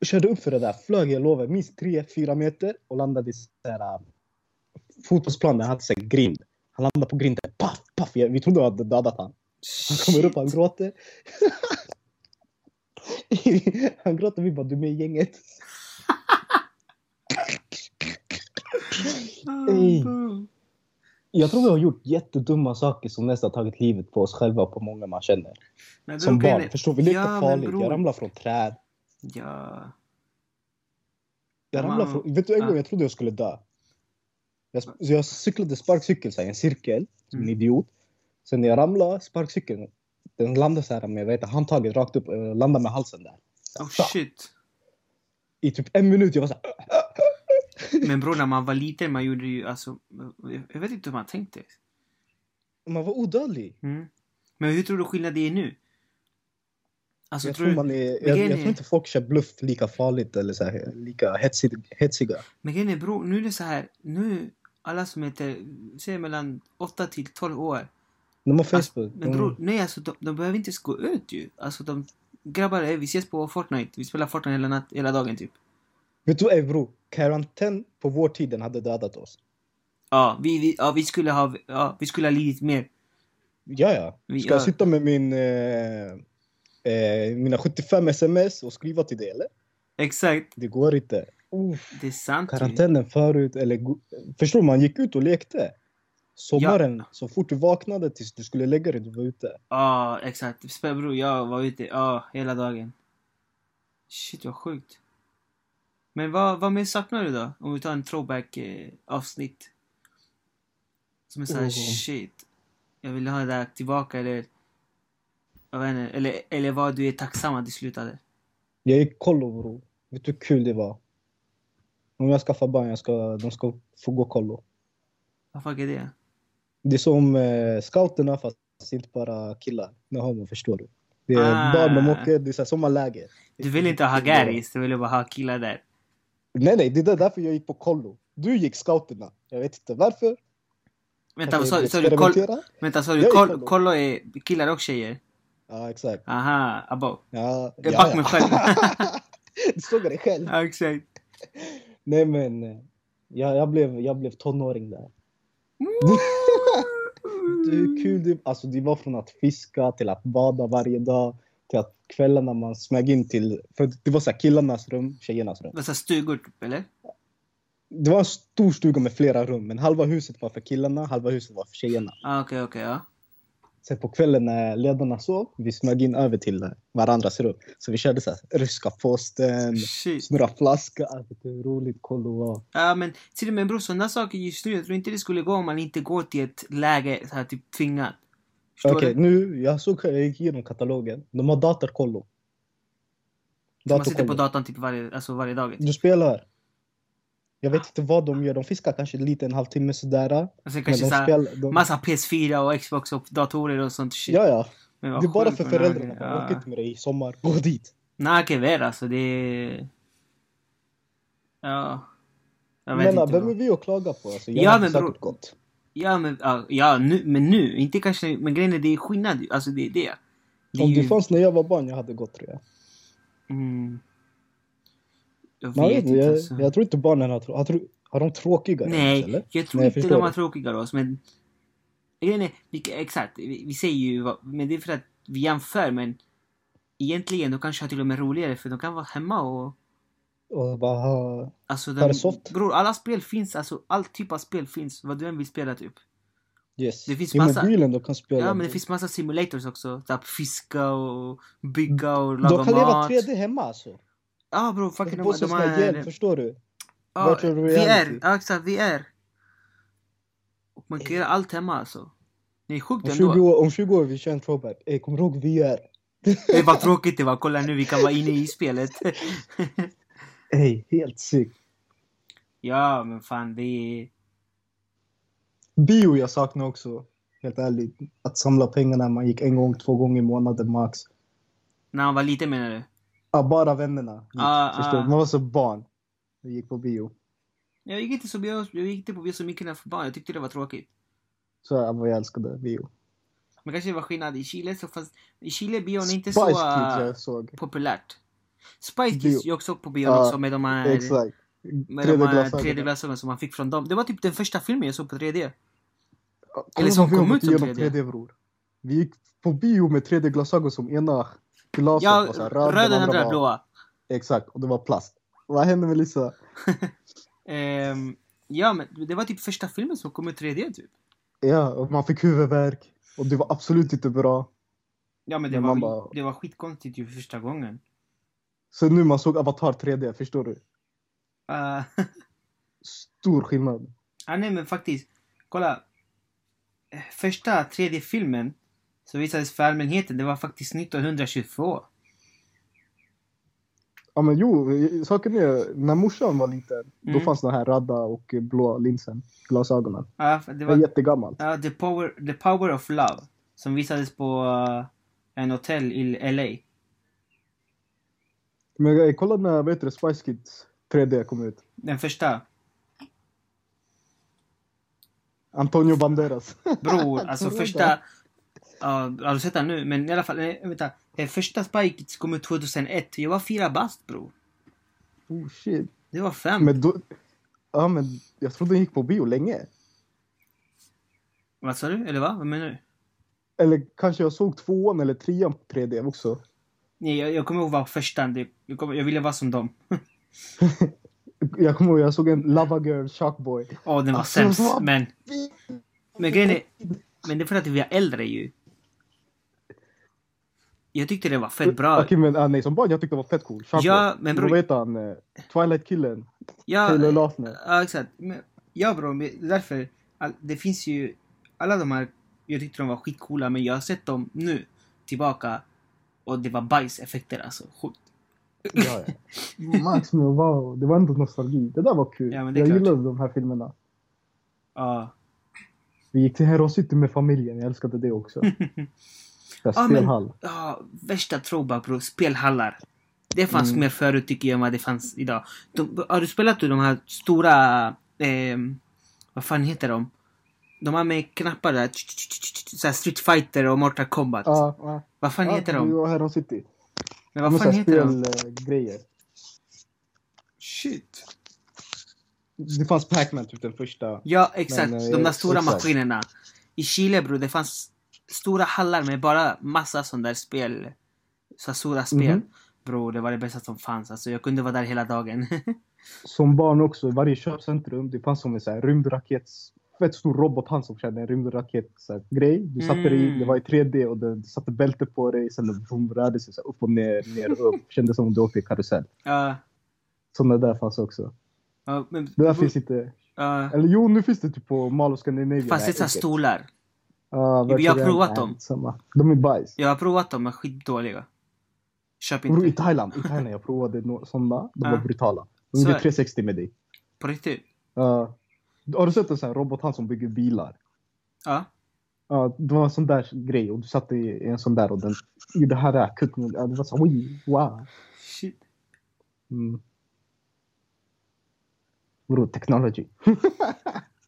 B: Och körde upp för det där. Flög, jag lovar, minst 3-4 meter och landade i så här, äh, fotbollsplan där han hade så här grind. Han landade på grinden. Paff, paff. Jag- Vi trodde vi hade dödat han. Han kommer upp, han gråter. han gråter, vi bara du är med i gänget.
A: Ah,
B: Ey. Jag tror vi har gjort jättedumma saker som nästan tagit livet på oss själva och på många man känner.
A: Men
B: Som
A: bror, grejen
B: barn,
A: är-
B: förstår vi? Lekte
A: Ja, men
B: farligt.
A: bror.
B: Jag ramlade från träd.
A: Ja.
B: Jag
A: Ja,
B: ramlade
A: man-
B: från... Vet du, en
A: ja.
B: gång jag trodde jag skulle dö. Jag, sp- så jag cyklade sparkcykel så här, i en cirkel, som en
A: Mm.
B: idiot. Sen när jag ramlade sparkcykeln, den landade så här med vad heter, det, handtaget rakt upp, eh, landade med halsen där.
A: Oh shit.
B: I typ en minut, jag var så här,
A: Men bror, när man var liten, man gjorde ju alltså... jag- Jag vet inte hur man tänkte.
B: "Äh, man var odödlig.
A: Mm. Men hur tror du skillnad det är nu? Alltså,
B: jag,
A: tror
B: tror man
A: du...
B: är, jag,
A: grejen
B: jag
A: är-
B: tror inte folk kör bluff lika farligt eller så här, lika hetsig, hetsiga.
A: Men grejen är bror, nu är det så här. Nu, alla som heter, säg mellan 8 till 12 år.
B: De har
A: Alltså,
B: Facebook.
A: men bror, nej alltså de, de behöver inte ens gå ut ju. Alltså de, grabbar, eh, vi ses på Fortnite. Vi spelar Fortnite hela, natt, hela dagen typ.
B: Vet du, ey, bro, karantän på vår tid den hade dödat oss.
A: Ja, vi, vi, ja, vi skulle ha, ja, vi skulle ha lidit mer.
B: Ja, ja.
A: Vi
B: Ska jag
A: gör-
B: sitta med min, eh, eh, mina 75 sms och skriva till dig eller?
A: Exakt.
B: Det går inte. Uff,
A: Det är sant ju.
B: karantänen förut, eller go- förstår du, man gick ut och lekte. Sommaren, så fort du vaknade tills du skulle lägga dig, du var ute.
A: Ja, exakt. Spel- Bror, jag var ute ja, hela dagen. Shit, vad sjukt. Men vad, vad mer saknar du då? Om vi tar en throwback-avsnitt. Som är såhär,
B: Oh.
A: shit. Jag vill ha det här tillbaka eller... Jag vet inte, eller, eller vad du är tacksam att det slutade.
B: Jag gick kollo bro. Vet du hur kul det var? Om jag skaffar barn, jag ska, de ska få gå kollo.
A: Vad fuck är det?
B: Det är som eh, scouterna fast inte bara killar. När homo förstår du. Det är
A: Ah.
B: barn de åker, det är så här sommarläger.
A: Du vill inte ha garis, du vill bara ha killar där.
B: Nej nej, det är därför jag gick på kollo. Du gick scouterna. Jag vet inte varför.
A: Vänta, vad
B: Kanske
A: sa du? Sa du koll-
B: experimentera?
A: Vänta, sa du
B: Jag är
A: koll-
B: kollo.
A: kollo är killar och tjejer?
B: Ja exakt.
A: Aha, abo.
B: Ja,
A: Jag
B: ja,
A: back mig
B: ja.
A: själv.
B: Du såg dig själv.
A: Ja, exakt.
B: Nej men, eh, jag, jag, blev, jag blev tonåring där. Vet du
A: Mm.
B: hur kul det, alltså det var från att fiska till att bada varje dag till att kvällarna man smög in till, för det var så här killarnas rum, tjejernas rum.
A: Vad sa stugor typ, eller?
B: Det var en stor stuga med flera rum, men halva huset var för killarna, halva huset var för tjejerna.
A: Ah, okej, okej, ja.
B: Sen på kvällen när ledarna sov, vi smög in över till varandras rum. Så vi körde så här, ryska posten,
A: Shit.
B: snurra flaska, alltså det var roligt, kolla vad.
A: Ja, men till och med bror, sådana saker just nu, jag tror inte det skulle gå om man inte går till ett läge så här typ tvingat. Förstår
B: Okej,
A: du?
B: nu, jag såg, jag gick igenom katalogen. De har datorkollo.
A: Man sitter på
B: Datorkollo.
A: datorn typ varje, alltså varje dag.
B: Du spelar. Jag vet inte vad de gör. De fiskar kanske lite, en halvtimme
A: Och
B: sådär.
A: sen
B: Men
A: alltså, kanske
B: de
A: såhär,
B: spelar, de...
A: massa PS4 och Xbox och datorer och sånt shit.
B: Ja, ja.
A: Men vad
B: Det är bara
A: sjukt,
B: för
A: men
B: föräldrarna.
A: okej,
B: Ja. Åk
A: Ja.
B: inte med dig i sommar. Gå dit.
A: Nej, okej, väl alltså, det är... Ja. Jag vet
B: Men
A: inte.
B: vem är
A: vad-
B: vi att klaga på? Alltså, jag
A: Ja,
B: ja, hade
A: men
B: säkert
A: bror.
B: gått.
A: Ja, men, ja, ja nu, men nu, inte kanske, men grejen är det är skillnad ju. alltså det är det. Det är
B: Om
A: ju...
B: det fanns när jag var barn, jag hade gått tror jag.
A: Mm. Jag vet
B: Man vet,
A: inte
B: jag,
A: alltså.
B: jag tror inte barnen har, trå- har, trå- har de tråkigare.
A: Nej,
B: Eller?
A: jag tror
B: Nej, jag
A: inte
B: förstår
A: de har
B: det.
A: tråkigare oss, men... Grejen är, vilka, exakt, vi, vi säger ju vad, men det är för att vi jämför, men egentligen, de kanske har till och med roligare, för de kan vara hemma och...
B: Och bara, ha-
A: Alltså,
B: Har
A: de,
B: det soft?
A: bror, alla spel finns, alltså all typ av spel finns, vad du än vill spela typ.
B: yes.
A: Det finns
B: I
A: massa-
B: mobilen de kan spela.
A: Ja, men det finns massa simulators också, typ fiska och bygga och
B: de
A: laga
B: kan leva
A: mat.
B: 3D hemma alltså.
A: Ja, bror, fucking
B: På
A: de, de
B: sina hjälp,
A: har...
B: förstår du?
A: Ja,
B: virtual reality.
A: VR, ja exakt, VR. Och man kan göra allt hemma alltså. Det är sjukt
B: Om
A: ändå.
B: 20 Eh. år, om 20 år vi kör en throwback. Ey, kommer du ihåg VR?
A: Det var tråkigt det var, kolla nu vi kan vara inne i spelet.
B: Ey, helt sick.
A: ja men fan det är...
B: Bio jag saknar också. Helt ärligt. Att samla pengarna. Man gick en gång, två gånger i månaden max.
A: När han var liten menar du?
B: Ja, bara vännerna. gick,
A: Ah,
B: förstår du?
A: ah.
B: Man var så barn. Vi gick på bio.
A: Jag gick inte, så bio, jag gick inte på bio så mycket när jag var barn. Jag tyckte det var tråkigt.
B: Så här, vad jag älskade bio.
A: Men kanske det var skillnad. I Chile så fanns... I Chile bion är inte
B: Spice
A: så
B: Kids
A: äh,
B: jag såg.
A: populärt. Spice
B: Bio.
A: Kids gick också på bio
B: Ja,
A: också med de här...
B: Exakt.
A: Med de här
B: 3D-glasögonen.
A: 3D-glasögonen som man fick från dem. Det var typ den första filmen jag såg på 3D.
B: Ja,
A: Eller som
B: vi har
A: kom
B: gått
A: ut som
B: igenom
A: 3D.
B: 3D bror. Vi gick på bio med 3D-glasögon som ena glaset
A: Ja,
B: var så här
A: röd den andra
B: var-
A: blåa.
B: Exakt, och det var plast. Vad hände med Lisa?
A: Ehm, ja, men det var typ första filmen som kom ut 3D typ.
B: Ja, och man fick huvudvärk. Och det var absolut inte bra.
A: Ja, men det,
B: Men
A: var,
B: man
A: väl-
B: bara-
A: det var skitkonstigt ju första gången.
B: Så nu man såg Avatar 3D, förstår du?
A: Uh,
B: Stor skillnad.
A: ja, ah, nej, men faktiskt. Kolla. Eh, Första 3D-filmen som visades för allmänheten, det var faktiskt 1922.
B: Ja men jo, saken är när morsan var liten, då
A: Mm.
B: fanns den här radda och blå linsen, glasögonen.
A: Ja, det
B: Det
A: var
B: var jättegammal.
A: ja, the, power, the Power of Love som visades på eh, en hotell i LA.
B: Men jag kollade när, vad heter det, Spice Kids 3D kom ut.
A: Den första.
B: Antonio Banderas.
A: Bror, alltså
B: Tror jag
A: första... Ja, har du sett den nu? Men i alla fall, nej, vänta. Eh, Första Spike Kids kom ut 2001. Jag var fyra bast bror.
B: oh shit.
A: Det var fem.
B: Men då, ja men jag trodde den gick på bio länge.
A: Vad sa du? Eller va? Vad menar du?
B: Eller kanske jag såg tvåan eller trean på 3D också.
A: Nej, jag, jag kommer ihåg vad första... Det, jag, kommer, jag ville vara som dem.
B: Jag kommer ihåg, jag såg en Lava Girl Shockboy.
A: Ja, den var
B: Alltså,
A: sämst.
B: vad-
A: Men, men grejen är... Men det är för att vi är äldre ju. Jag tyckte det var fett bra.
B: Okej men ah, nej, som barn jag tyckte det var fett cool. Shockboy.
A: Ja, men bror-
B: Vad heter han? eh, Twilight-killen? Taylor
A: Ja,
B: Lautner.
A: ja exakt. Men, ja bror, men därför. All, det finns ju... Alla de här... Jag tyckte de var skitcoola, men jag har sett dem nu. Tillbaka. Och det var bajseffekter alltså. Sjukt.
B: Ja, ja. Max, men wow. Det var ändå nostalgi. Det där var kul.
A: Ja, men
B: jag
A: det är klart.
B: gillade de här filmerna.
A: Ja.
B: Vi gick till Hero City med familjen. Jag älskade det också. Där
A: Ja, men-
B: spelhall.
A: Ja, värsta throwback bro. Spelhallar. Det fanns
B: Mm.
A: mer förut tycker jag än vad det fanns idag. De, har du spelat de här stora... ehm, vad fan heter de? De här med knappar där. tch, tch, tch, tch, tch, Så här Street Fighter och Mortal Kombat.
B: Ja, ja.
A: Vad fan
B: Ja,
A: heter
B: Vi
A: de?
B: var i Hero City.
A: Men vad fan heter de?
B: Spelgrejer.
A: Shit.
B: Det fanns Pac-Man typ den första.
A: Ja, exakt.
B: Men, eh,
A: de där stora
B: exakt.
A: maskinerna. I Chile bro, det fanns stora hallar med bara massa sån där spel. Så här stora spel.
B: Mhm.
A: Bro, det var det bästa som fanns. Alltså, jag kunde vara där hela dagen.
B: Som barn också. i Varje köpcentrum. Det fanns som en så här rymdraket. Fett stor robothand som körde en rymdraket så här, grej. Du satte dig
A: Mm.
B: i. Det var i 3D och den satte bälte på dig. Sen den vroom, rörde sig så här, upp och ner, ner och upp. Kändes som om du åkte i karusell.
A: Ja,
B: Sådana där fanns också.
A: ja, men,
B: Det där finns inte.
A: ja.
B: Eller jo, nu finns det typ på Mall of Scandinavia.
A: Fast det är så här stolar.
B: Ja, verkligen.
A: har provat
B: Nej,
A: dem.
B: Samma. De är bajs.
A: Jag har provat dem, men skitdåliga. Köp
B: Bro, I
A: inte.
B: Thailand, i Thailand jag provade no- sådana. De
A: Ja.
B: var brutala. De
A: Så
B: gjorde
A: är-
B: 360 med dig.
A: På riktigt?
B: Ja. har du sett en sån här robothand som bygger bilar?
A: Ja.
B: Ja, det var en sån där grej och du satt i en sån där och den gjorde här där kucken. Ja, det var så oj, wow.
A: Shit.
B: Mm. Bro, technology.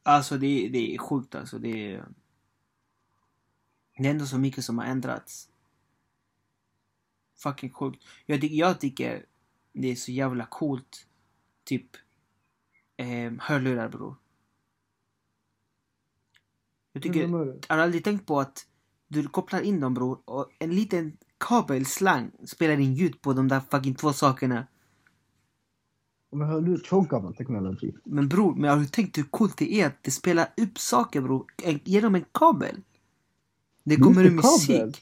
A: Alltså det, det är sjukt alltså. Det är... Det är ändå så mycket som har ändrats. Fucking sjukt. Jag, ty- jag tycker det är så jävla coolt. Typ eh, hörlurar bror. Jag tycker...
B: Vad menar du?
A: Har du aldrig tänkt på att du kopplar in dem bror och en liten kabelslang spelar in ljud på de där fucking två sakerna.
B: Men hör du, chokar man technology?
A: Men bror, men har du tänkt hur coolt det är att det spelar upp saker bror en- genom en kabel? Det
B: Det är
A: kommer ur
B: inte
A: musik.
B: kabel.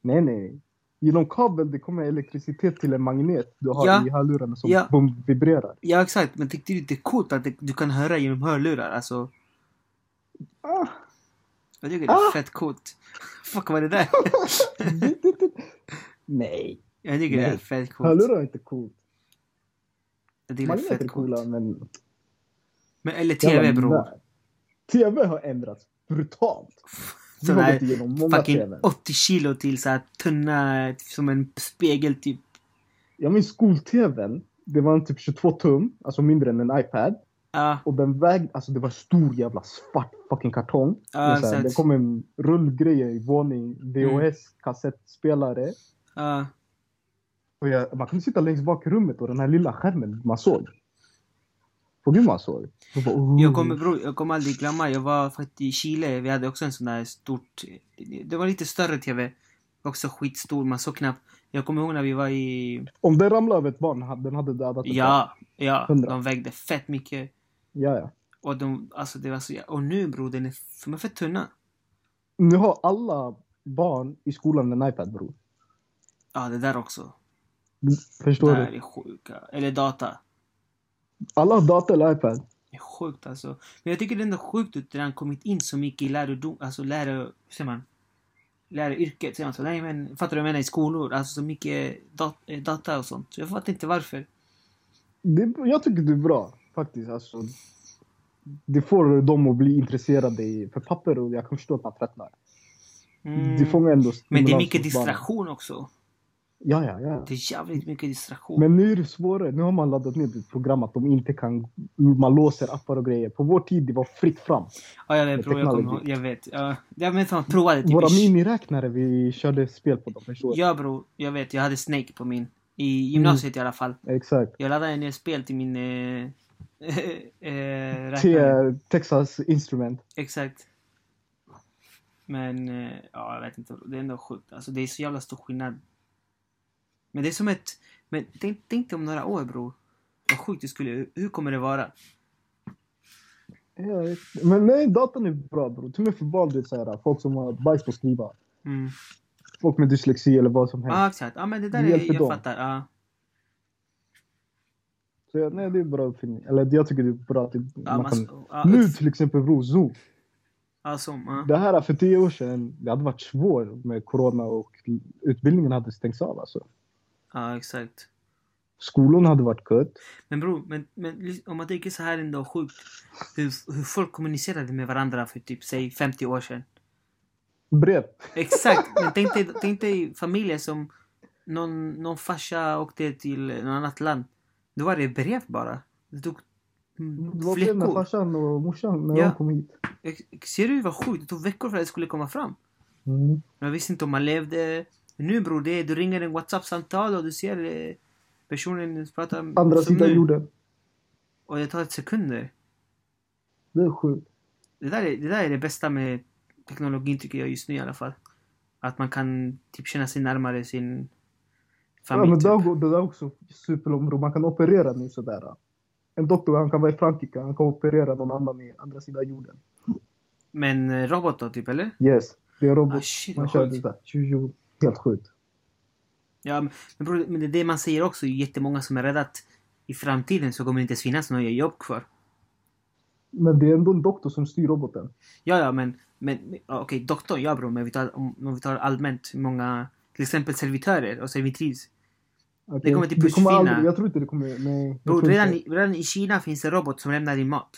B: Nej, nej. Genom kabel det kommer elektricitet till en magnet du har
A: Ja.
B: i hörlurarna som
A: Ja.
B: boom, vibrerar.
A: Ja exakt, men tyckte du inte det är coolt att det, du kan höra genom hörlurar? Alltså,
B: Ah,
A: jag tycker det är
B: Ah!
A: fett coolt. Fuck vad är det där?
B: dit, dit, dit. nej,
A: Jag tycker det är
B: Nej.
A: fett coolt.
B: hörlurar är inte coolt.
A: Jag tycker det är
B: Magneter är
A: fett
B: coola
A: coolt.
B: men...
A: Men, eller
B: jävla
A: TV bror.
B: nörd. TV har ändrats brutalt. Vi
A: Sån
B: har
A: här
B: gått igenom många
A: fucking
B: TV.
A: 80 kilo till så här tunna, som en spegel typ.
B: Jag minns skol-TVn. Det var en typ 22 tum, alltså mindre än en iPad.
A: Ja,
B: Och den vägde, alltså det var en stor jävla svart fucking kartong.
A: Ja, Mm.
B: Med så här,
A: exakt.
B: det kom en rullgrej i våning, VHS, kassettspelare.
A: ja.
B: Och jag, man kunde sitta längst bak i rummet och den här lilla skärmen man såg. Och du man såg. Jag, bara, oh.
A: Jag kommer bro, jag kommer aldrig glömma, jag var faktiskt i Chile, vi hade också en sån där stort... Det var lite större TV. Också skitstor, man såg knappt. Jag kommer ihåg när vi var i...
B: Om den ramlade över ett barn, ha- den hade dödat ett barn.
A: Ja, ja.
B: Hundra.
A: De vägde fett mycket.
B: Ja, ja.
A: Och de, alltså det var så... jä- Och nu bror, den är, de är fett tunna.
B: Nu har alla barn i skolan en iPad bror.
A: Ja, det där också. Det
B: Förstår
A: där
B: du?
A: är sjuka. Eller data.
B: Alla har dator eller iPad.
A: Det är sjukt alltså. Men jag tycker det är ändå sjukt att det har kommit in så mycket i lärodom, alltså läro, hur säger man? Läraryrket säger man så. Nej men, fattar du vad jag menar? I skolor, alltså så mycket dat- eh, data och sånt. Så jag fattar inte varför.
B: Det, jag tycker det är bra faktiskt. Alltså, det får dem att bli intresserade i, för papper och jag kan förstå att man tröttnar.
A: Mm.
B: Det fångar ändå
A: Men det är
B: stimulans
A: mycket
B: hos barnen.
A: distraktion också.
B: Ja, ja, ja.
A: Det är jävligt mycket distraktion.
B: Men nu är det svårare. Nu har man laddat ner ett program att de inte kan... Man låser appar och grejer. På vår tid det var fritt fram.
A: ja, jag vet
B: med
A: bror, jag kommer
B: teknologi.
A: ihåg. Jag vet. Ja, jag men fan prova det. Typ.
B: Våra
A: i-
B: miniräknare vi körde spel på dem, förstår du?
A: Ja bror, jag vet. Jag hade Snake på min. I
B: Mm.
A: gymnasiet i alla fall.
B: Exakt.
A: Jag laddade ner spel till min... Eh, eh,
B: Till
A: räknare.
B: eh, Texas Instrument.
A: Exakt. Men, eh, ja jag vet inte. Det är ändå sjukt. Alltså det är så jävla stor skillnad. Men det är som ett... Men tänk, tänk dig om några år bror. Vad sjukt det skulle... Hur kommer det vara?
B: Jag vet inte. Men nej, datorn är bra bror. Till och med för barn, du vet, så här, folk som har bajs på att skriva.
A: Mm.
B: Folk med dyslexi eller vad som
A: Ja
B: helst.
A: exakt. Ja men det där
B: Det
A: är...
B: hjälper
A: Jag
B: dem.
A: fattar. Ja.
B: Så jag, nej, det är en bra uppfinning. Eller jag tycker det är bra att det,
A: ja,
B: man kan...
A: man, ja,
B: Nu
A: uff.
B: till exempel bror, Zoom.
A: Ja, som, ja.
B: Det här för tio år sedan, det hade varit svårt med corona och utbildningen hade stängts av alltså.
A: ja, exakt.
B: Skolorna hade varit kutt.
A: Men bror, men, men lys- om man tänker så här ändå sjukt. Hur, hur folk kommunicerade med varandra för typ, säg 50 år sedan.
B: Brev.
A: Exakt! Men tänk dig, tänk dig familjer som någon, någon farsa åkte till något annat land. Då var det brev bara. Det tog mm,
B: Vad blev med
A: veckor.
B: farsan och morsan när
A: Ja.
B: de kom hit?
A: Ex- Ser du vad sjukt? Det tog veckor för att det skulle komma fram.
B: Mm.
A: Jag visste inte om man levde. Nu bror, det är, du ringer en WhatsApp-samtal och du ser eh, personen prata
B: Andra
A: som
B: sidan
A: nu.
B: jorden.
A: Och det tar sekunder.
B: Det är sjukt.
A: Det där, är, det där är det bästa med teknologin tycker jag just nu i alla fall. Att man kan typ känna sig närmare sin
B: Ja,
A: familj.
B: men det,
A: typ.
B: går, det där är också superlångt bro. Man kan operera nu sådär. En doktor, han kan vara i Frankrike, han kan operera någon annan i andra sidan jorden.
A: men eh, robot då typ eller?
B: Yes, det är en robot.
A: Ah, shit,
B: man
A: vad
B: kör
A: sjukt.
B: det där. Tjo-tjo. Helt sjukt.
A: Ja, men, men, bror, men det är det man säger också. Det är jättemånga som är rädda att i framtiden så kommer det inte ens finnas några jobb kvar.
B: Men det är ändå en doktor som styr roboten.
A: Ja, ja, men, men men, ja, okej, doktorn, ja bror, men vi tar, om, om vi tar allmänt många, till exempel servitörer och servitris.
B: Okej?
A: Det kommer till
B: aldrig-
A: pussfina.
B: Jag tror inte det kommer... Nej. jag
A: Bror,
B: tror inte.
A: redan, i- redan i Kina finns en robot som lämnar din mat.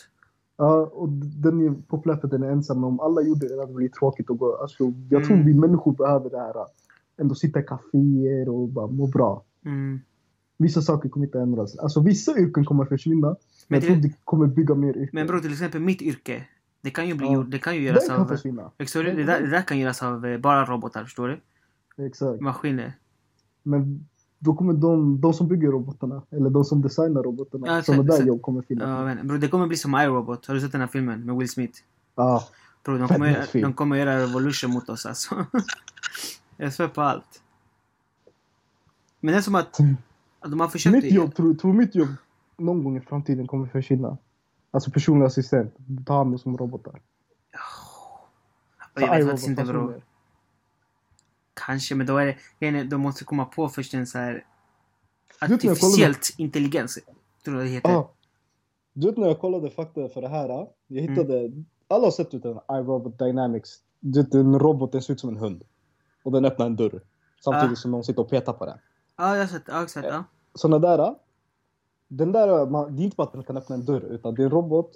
B: Ja, och d- den är populär för att den är ensam. Om alla gjorde det, det hade blivit tråkigt att gå. Alltså, jag tror
A: Mm.
B: vi människor behöver det här. äh, Ändå sitta i kaféer och bara må bra.
A: Mm.
B: Vissa saker kommer inte ändras. Alltså vissa yrken kommer försvinna. Men,
A: Men
B: jag tror
A: det-
B: det kommer bygga mer yrken.
A: Men bror, till exempel mitt yrke, det kan ju, bli,
B: Ja.
A: gjort- det kan ju
B: den
A: göras
B: kan
A: av...
B: försvinna.
A: Förstår du? Det där, det där kan göras av eh, bara robotar, förstår du?
B: Exakt.
A: Maskiner.
B: Men då kommer de, de som bygger robotarna, eller de som designar robotarna,
A: Ja,
B: sådana där
A: exakt.
B: jobb kommer finnas.
A: Ja,
B: Ja,
A: men, bror, det kommer bli som iRobot. Har du sett den här filmen med Will Smith? Bro, de
B: Fett
A: kommer, göra,
B: nice film.
A: de kommer göra revolution mot oss alltså. jag svär på allt. Men det är som att, att de har försökt...
B: Mitt Mm. jobb, tror, tror mitt jobb någon gång i framtiden kommer försvinna. Alltså personlig assistent, ta hand om som robotar.
A: jag vet
B: iRobot,
A: faktiskt inte bro.
B: personer.
A: Kanske, men då är det... grejen är, De måste komma på först en så här
B: när jag kollar- Ah.
A: Artificiellt intelligens. Tror jag det heter.
B: Ja. Du vet när jag kollade fakta för det här. ah, Jag
A: Mm.
B: hittade, alla har sett ut den iRobot Dynamics. Du vet en robot, den ser ut som en hund. Och den öppnar en dörr. Samtidigt
A: Ah.
B: som någon sitter och petar på den.
A: Ja, jag har sett. Ja, exakt. Ja.
B: Såna där. ah, Den där, ah, man, det är inte bara att den kan öppna en dörr. Utan det är en robot.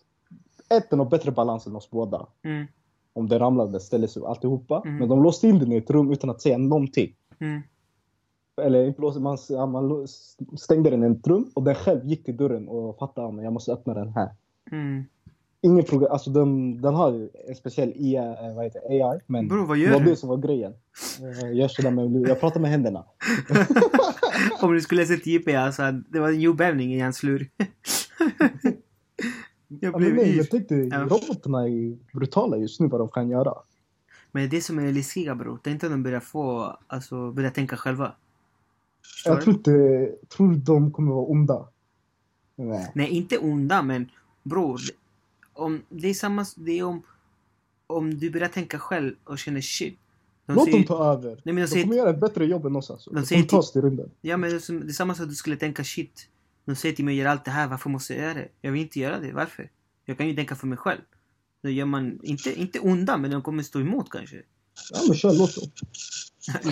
B: Ett, den har bättre balans än oss båda.
A: Mm,
B: Om den ramlade, ställde sig och alltihopa.
A: Mm.
B: Men de låste in den i ett rum utan att säga någonting.
A: mm,
B: Eller inte låste, man, ja, man lå- stängde den i ett rum och den själv gick till dörren och fattade att jag "Ah, måste öppna den här.
A: Mm.
B: Ingen program, alltså den, den har ju en speciell IA, eh, vad heter det, AI. Men
A: Bror, vad
B: det
A: gör
B: var
A: du?
B: det som var grejen. Eh, Jag kör där med, jag pratar med händerna.
A: Om du skulle ha sett JP alltså, det var en jordbävning i hans lur. jag
B: Ja, men
A: blev
B: Alltså, nej,
A: yr.
B: jag tyckte robotarna är brutala just nu vad de kan göra.
A: Men det är det som är läskiga bror. Tänk om de börjar få, alltså börja tänka själva. Förstår
B: Jag
A: du?
B: tror inte, tror de kommer vara onda. Nej.
A: Nej, inte onda, men bror. Om, det är samma, det är om, om du börjar tänka själv och känner shit. De
B: Låt
A: säger-
B: dem ta över.
A: Nej men jag
B: De kommer
A: säger,
B: göra ett bättre jobb än oss alltså.
A: De
B: De
A: säger
B: kommer ta oss till rymden.
A: ja men det är som- det är samma som att du skulle tänka shit. De säger till mig gör allt det här, varför måste jag göra det? Jag vill inte göra det, varför? Jag kan ju tänka för mig själv. Då gör man, inte, inte onda, men de kommer stå emot kanske.
B: Ja men kör, låt dem.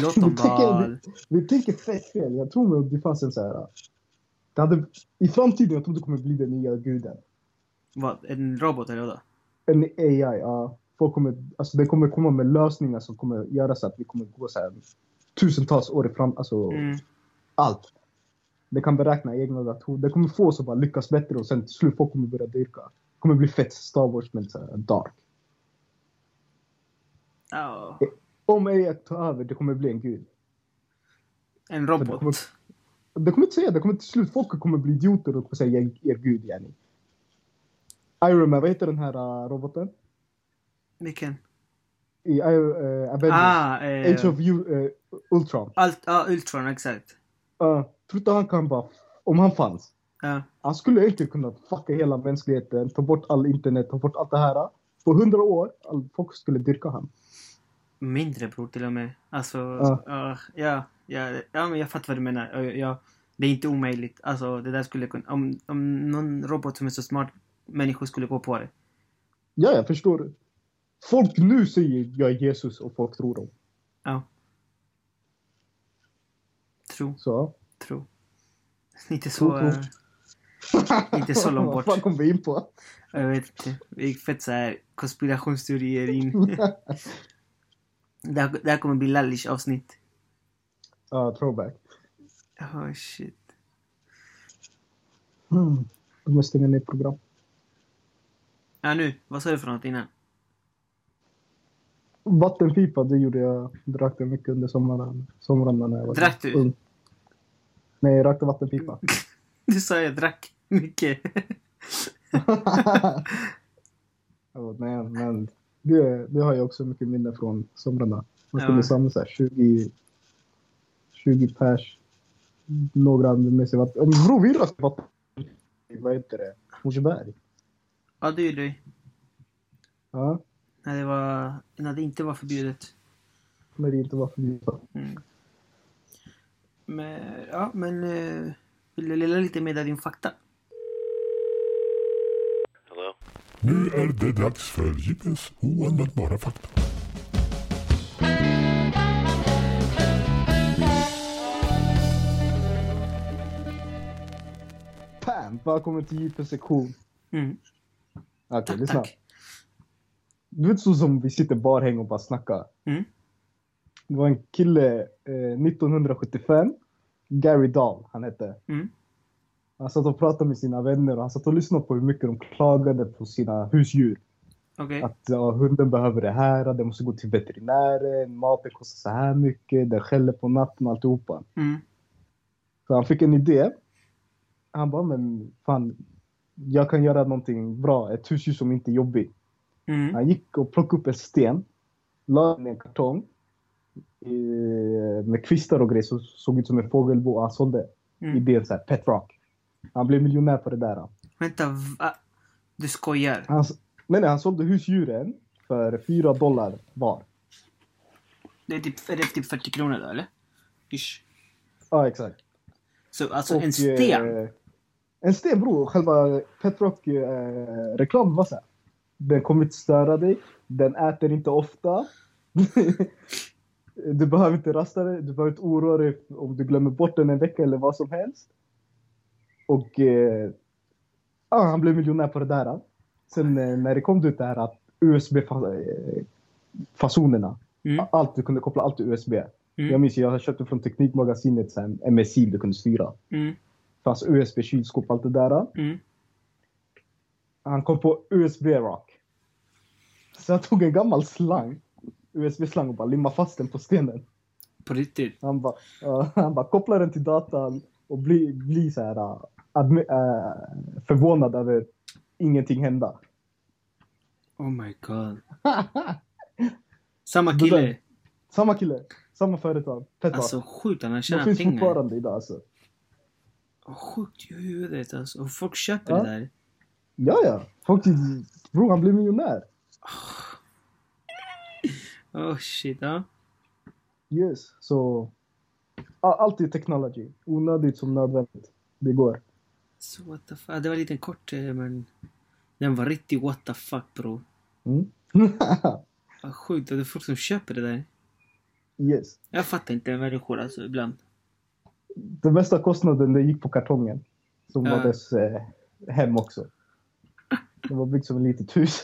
A: Låt dem
B: tänker-
A: vara.
B: Vi tänker fett fel. Jag tror nog det fanns en så här... Det hade, I framtiden jag tror det kommer bli den nya guden.
A: Vad, en robot eller vadå?
B: En AI, ja. Folk kommer, alltså det kommer komma med lösningar som kommer göra så att vi kommer gå så här tusentals år i fram, alltså
A: Mm.
B: allt. Det kan beräkna egna datorer. Det kommer få oss att bara lyckas bättre och sen till slut folk kommer börja dyrka. Det kommer bli fett Star Wars men så här dark.
A: Ja,
B: Om AI tar över, det kommer bli en gud.
A: en
B: det
A: robot.
B: kommer- Det kommer inte säga, det kommer till slut folk kommer bli idioter och kommer säga "Jag- er gud yani. Iron Man, vad heter den här äh, roboten?
A: Vilken?
B: I uh, Avengers.
A: Ah,
B: Age
A: eh,
B: of U- eh, Ultron.
A: allt, ja, Ultron, exakt.
B: Uh, tror inte han kan bara, om han fanns.
A: Ja.
B: Han skulle egentligen kunna fucka hela mänskligheten, ta bort all internet, ta bort allt det här. På hundra år, all, folk skulle dyrka han.
A: Mindre bror till och med. Alltså,
B: Ja.
A: ah, ja, ja, ja, men jag fattar vad du menar. Ja, ja, det är inte omöjligt. Alltså, det där skulle kunna... Om, om någon robot som är så smart människor skulle gå på det.
B: Ja, jag förstår. det. Folk nu säger jag är Jesus och folk tror dem.
A: Ja. Tro,
B: Så.
A: tro. Inte
B: Tro,
A: så...
B: tro.
A: eh, Inte så långt bort.
B: Vad fan kom vi in på?
A: Jag vet inte. Vi gick fett såhär konspirationsteorier in. det, här, det här kommer bli lallish avsnitt.
B: Ja, throwback.
A: Oh shit.
B: Mm. Jag måste stänga ner program.
A: Ja nu, vad sa du för något innan?
B: Vattenpipa, det gjorde jag. Drack det mycket under sommaren, somrarna när jag var
A: Drack du?
B: ung. Nej, jag rökte vattenpipa.
A: Du sa jag drack mycket.
B: Ja, nej, men det, det har jag också mycket minne från somrarna. Man
A: Ja.
B: kunde samla så här 20, 20 pers. Några hade med sig vatten. Ja, Bror, vi rökte vatten. Vad heter det? Moseberg.
A: Ja det gjorde vi.
B: Ja,
A: När det, var, när det inte var förbjudet.
B: när det inte var förbjudet.
A: Mm. Men, ja, men eh, vill du lilla lite med din fakta?
D: Hello?
E: Nu är det dags för Jippens oanvändbara fakta.
B: Pam! Välkommen till JPs sektion.
A: Mm.
B: Okej,
A: Tack,
B: lyssna.
A: tack.
B: Du vet så som vi sitter barhäng och bara snackar.
A: Mm.
B: Det var en kille eh, 1975. Gary Dahl, han hette.
A: Mm.
B: Han satt och pratade med sina vänner och han satt och lyssnade på hur mycket de klagade på sina husdjur.
A: Okej.
B: Att ja, hunden behöver det här, den måste gå till veterinären, maten kostar så här mycket, den skäller på natten och alltihopa.
A: Mm.
B: Så han fick en idé. Han bara, men fan, jag kan göra någonting bra, ett husdjur som inte är jobbigt.
A: Mm.
B: Han gick och plockade upp en sten, la den i en kartong eh, med kvistar och grejer så såg ut som en fågelbo. Han sålde
A: Mm.
B: idén så här, pet rock. Han blev miljonär på det där.
A: Vänta, va? Du skojar?
B: Han, s- nej, nej, han sålde husdjuren för 4 dollar var.
A: Det är typ, är det typ 40 kronor då eller? Ish.
B: Ja, exakt.
A: Så alltså
B: Och,
A: en sten?
B: eh, en sten bror. Själva pet rock eh, reklamen var så här. Den kommer inte störa dig. Den äter inte ofta. du behöver inte rasta dig. Du behöver inte oroa dig om du glömmer bort den en vecka eller vad som helst. Och eh, ja, han blev miljonär på det där. Sen eh, när det kom ut det här att USB-fasonerna.
A: Mm.
B: eh, Allt, du kunde koppla allt till USB.
A: Mm.
B: Jag minns ju, jag köpte från Teknikmagasinet så här, en missil du kunde styra.
A: Mm.
B: Det fanns USB-kylskåp och allt det där.
A: Mm.
B: Han kom på USB-rock. Så jag tog en gammal slang, USB-slang och bara limmade fast den på stenen.
A: På riktigt.
B: Han bara, ja, han bara kopplar den till datan och blir bli så här äh, admi- äh, förvånad över ingenting hända.
A: Oh my god. Samma kille.
B: Samma kille, samma företag. Fett bra.
A: Alltså sjukt, han har
B: De
A: tjänat
B: finns
A: pengar.
B: fortfarande idag alltså.
A: Sjukt i huvudet alltså. Och folk köper
B: Ja.
A: det där.
B: Ja, ja. Folk bror han blir miljonär.
A: Oh shit, ja.
B: Yes, så a- alltid technology. Onödigt som nödvändigt. Det går.
A: Så what the fuck. Det var lite kort eh, men den var riktigt what the fuck bro.
B: Mm.
A: Vad sjukt, och det är folk som köper det där.
B: yes.
A: Jag fattar inte människor alltså ibland.
B: Den mesta kostnaden det gick på kartongen. Som
A: Ja.
B: var dess eh, hem också. Det var byggt som ett litet hus.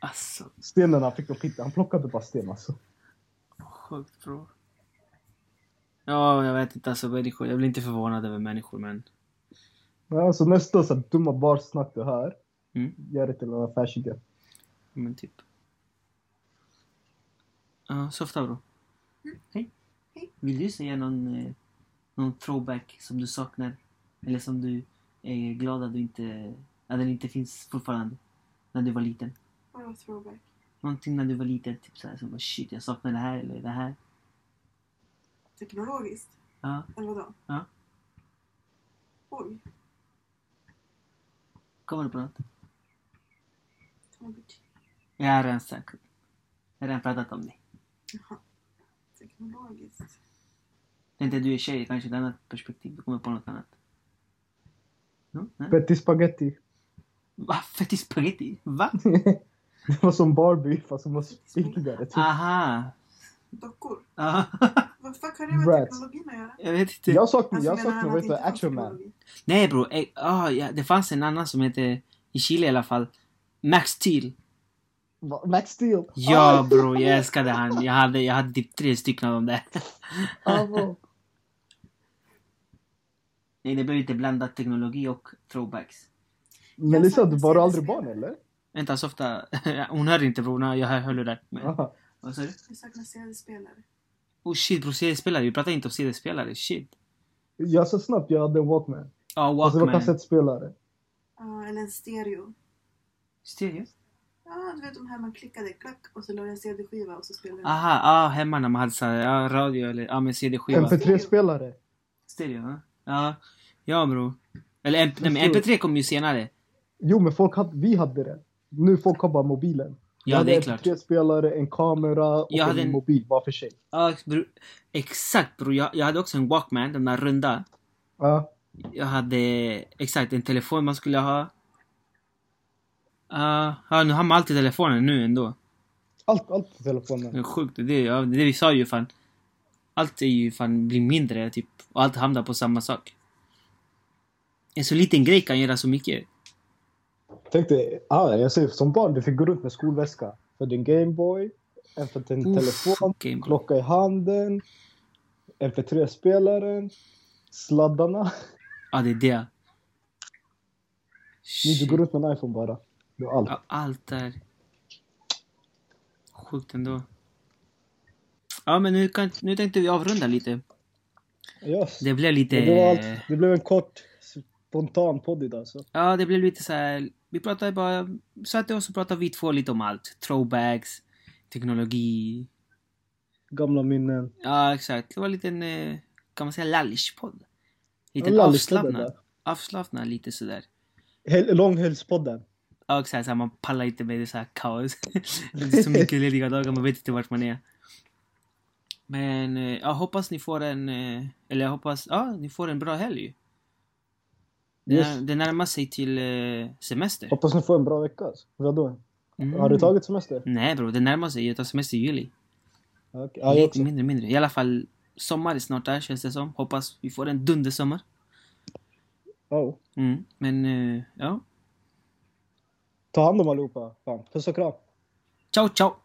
A: Alltså
B: Stenarna fick de skita. Han plockade bara sten alltså.
A: sjukt bro. Ja, jag vet inte alltså människor. Jag blir inte förvånad över människor men.
B: Ja, Alltså nästa så här dumma barsnack du hör.
A: Mm.
B: Gör det till en affärsidé.
A: Men typ. Ja, softa bro. Hej. Vill du säga någon, eh, någon throwback som du saknar? Eller som du är glad att du inte, att den inte finns fortfarande? När du var liten?
D: Ja, throwback.
A: Någonting när du var liten, typ såhär som bara shit jag saknar det här eller det här.
D: Teknologiskt?
A: Ja,
D: Eller vadå?
A: Ja.
D: Oj,
A: kommer du på något?
D: ta en bit.
A: Jag har redan sagt. Jag har redan pratat om det.
D: Teknologiskt?
A: Det är inte du är tjej, kanske ett annat perspektiv. Du kommer på något annat. No? Nej?
B: Betty Spaghetti.
A: Va? Fettis spagetti? Va?
B: Det var som Barbie fast hon var spinkigare.
D: Ah,
B: Typ.
A: Aha!
D: Dockor?
A: Aha.
D: Vad fuck har det med
B: Rats.
D: teknologin att göra?
A: Jag vet inte.
B: Jag saknar,
D: Alltså,
B: jag
D: menar
B: saknar
D: han att
B: vet du,
D: det inte fanns
B: Action Man.
D: teknologi?
A: Nej bro, eh, ah, ja, det fanns en annan som hette, i Chile i alla fall, Max Steel.
B: Va- Max Steel.
A: Ja bro, jag älskade han. Jag hade, jag hade typ tre stycken av dem där.
B: Ah, bro.
A: Nej, det blev lite blandat teknologi och throwbacks.
B: Melissa,
D: saknar
B: du var aldrig
D: CD-spelare.
B: barn eller?
A: Vänta, så ofta. Hon hör inte bro, Nej, jag hör- höll det där. Men,
B: Aha.
A: vad sa du?
D: Jag saknar CD-spelare.
A: Oh shit bro, CD-spelare. Vi pratar inte om CD-spelare. Shit.
B: Jag sa snabbt, jag hade en Walkman.
A: Ja,
B: Alltså det var
A: Walkman.
B: kassettspelare.
D: Ja, eller en stereo.
A: Stereo?
D: Ja, du vet de här man klickade, klack, och så la jag en CD-skiva och så spelade den.
A: Aha, ah, hemma när man hade så här, ja, radio eller ja, men CD-skiva.
B: MP3-spelare.
A: Stereo, ja. Ja, ja bro. Eller MP, nej, men MP3 kom ju senare.
B: Jo, men folk hade, vi hade det. Nu folk har bara mobilen. Jag
A: Ja,
B: hade
A: det är klart.
B: MP3-spelare, en kamera och
A: Jag
B: en,
A: hade en-
B: mobil var för sig.
A: Ja, bro. Exakt bro. Jag, jag hade också en Walkman, den där runda.
B: Ja,
A: Jag hade exakt en telefon man skulle ha. Ah, ja, nu har man alltid telefonen nu ändå.
B: allt, allt på
A: Det
B: telefonen.
A: är sjukt. Det, är- ja, det är det vi sa ju fan. Allt är ju fan blir mindre typ. Och allt hamnar på samma sak. En så liten grej kan göra så mycket.
B: Tänk dig, ah, jag säger som barn, du fick gå runt med skolväska. För din Gameboy, en för din
A: Uff,
B: telefon,
A: Gameboy.
B: klocka i handen, MP3-spelaren, sladdarna.
A: Ja, det är det.
B: Nu du
A: Shit.
B: går runt med en iPhone bara. Du har allt.
A: Ja, allt där. Sjukt ändå. Ja, men nu, kan, nu tänkte vi avrunda lite.
B: Yes.
A: Det
B: Det,
A: blev lite...
B: var allt. det blev en kort, spontan podd idag. Så.
A: Ja, det blev lite så här... Vi pratade bara... Satte oss och pratade vi två lite om allt. Throwbacks, teknologi.
B: Gamla minnen.
A: Ja, exakt. Det var en liten, eh, kan man säga, lallish-podd. Lite
B: Ja, lallish-podden
A: avslappnad.
B: där.
A: Avslappnad lite sådär.
B: Hel- Långhölspodden.
A: Ja, exakt. Så här, man pallar inte med det så här kaos. det är så mycket lediga dagar, man vet inte vart man är. Men eh, jag hoppas ni får en, eh, eller jag hoppas, ja, ni får en bra helg. Det,
B: Yes.
A: när, det närmar sig till eh, semester.
B: Hoppas ni får en bra vecka. Alltså. Vadå?
A: Mm.
B: Har du tagit semester?
A: Nej bror, det närmar sig. Jag tar semester i juli.
B: Ja, okej. Ja, jag
A: Lite
B: också.
A: mindre, mindre. I alla fall, sommar är snart där känns det som. Hoppas vi får en dundersommar.
B: Ja.
A: Mm. Men, eh, ja.
B: Ta hand om allihopa. Fan. Puss och kram.
A: Ciao, ciao!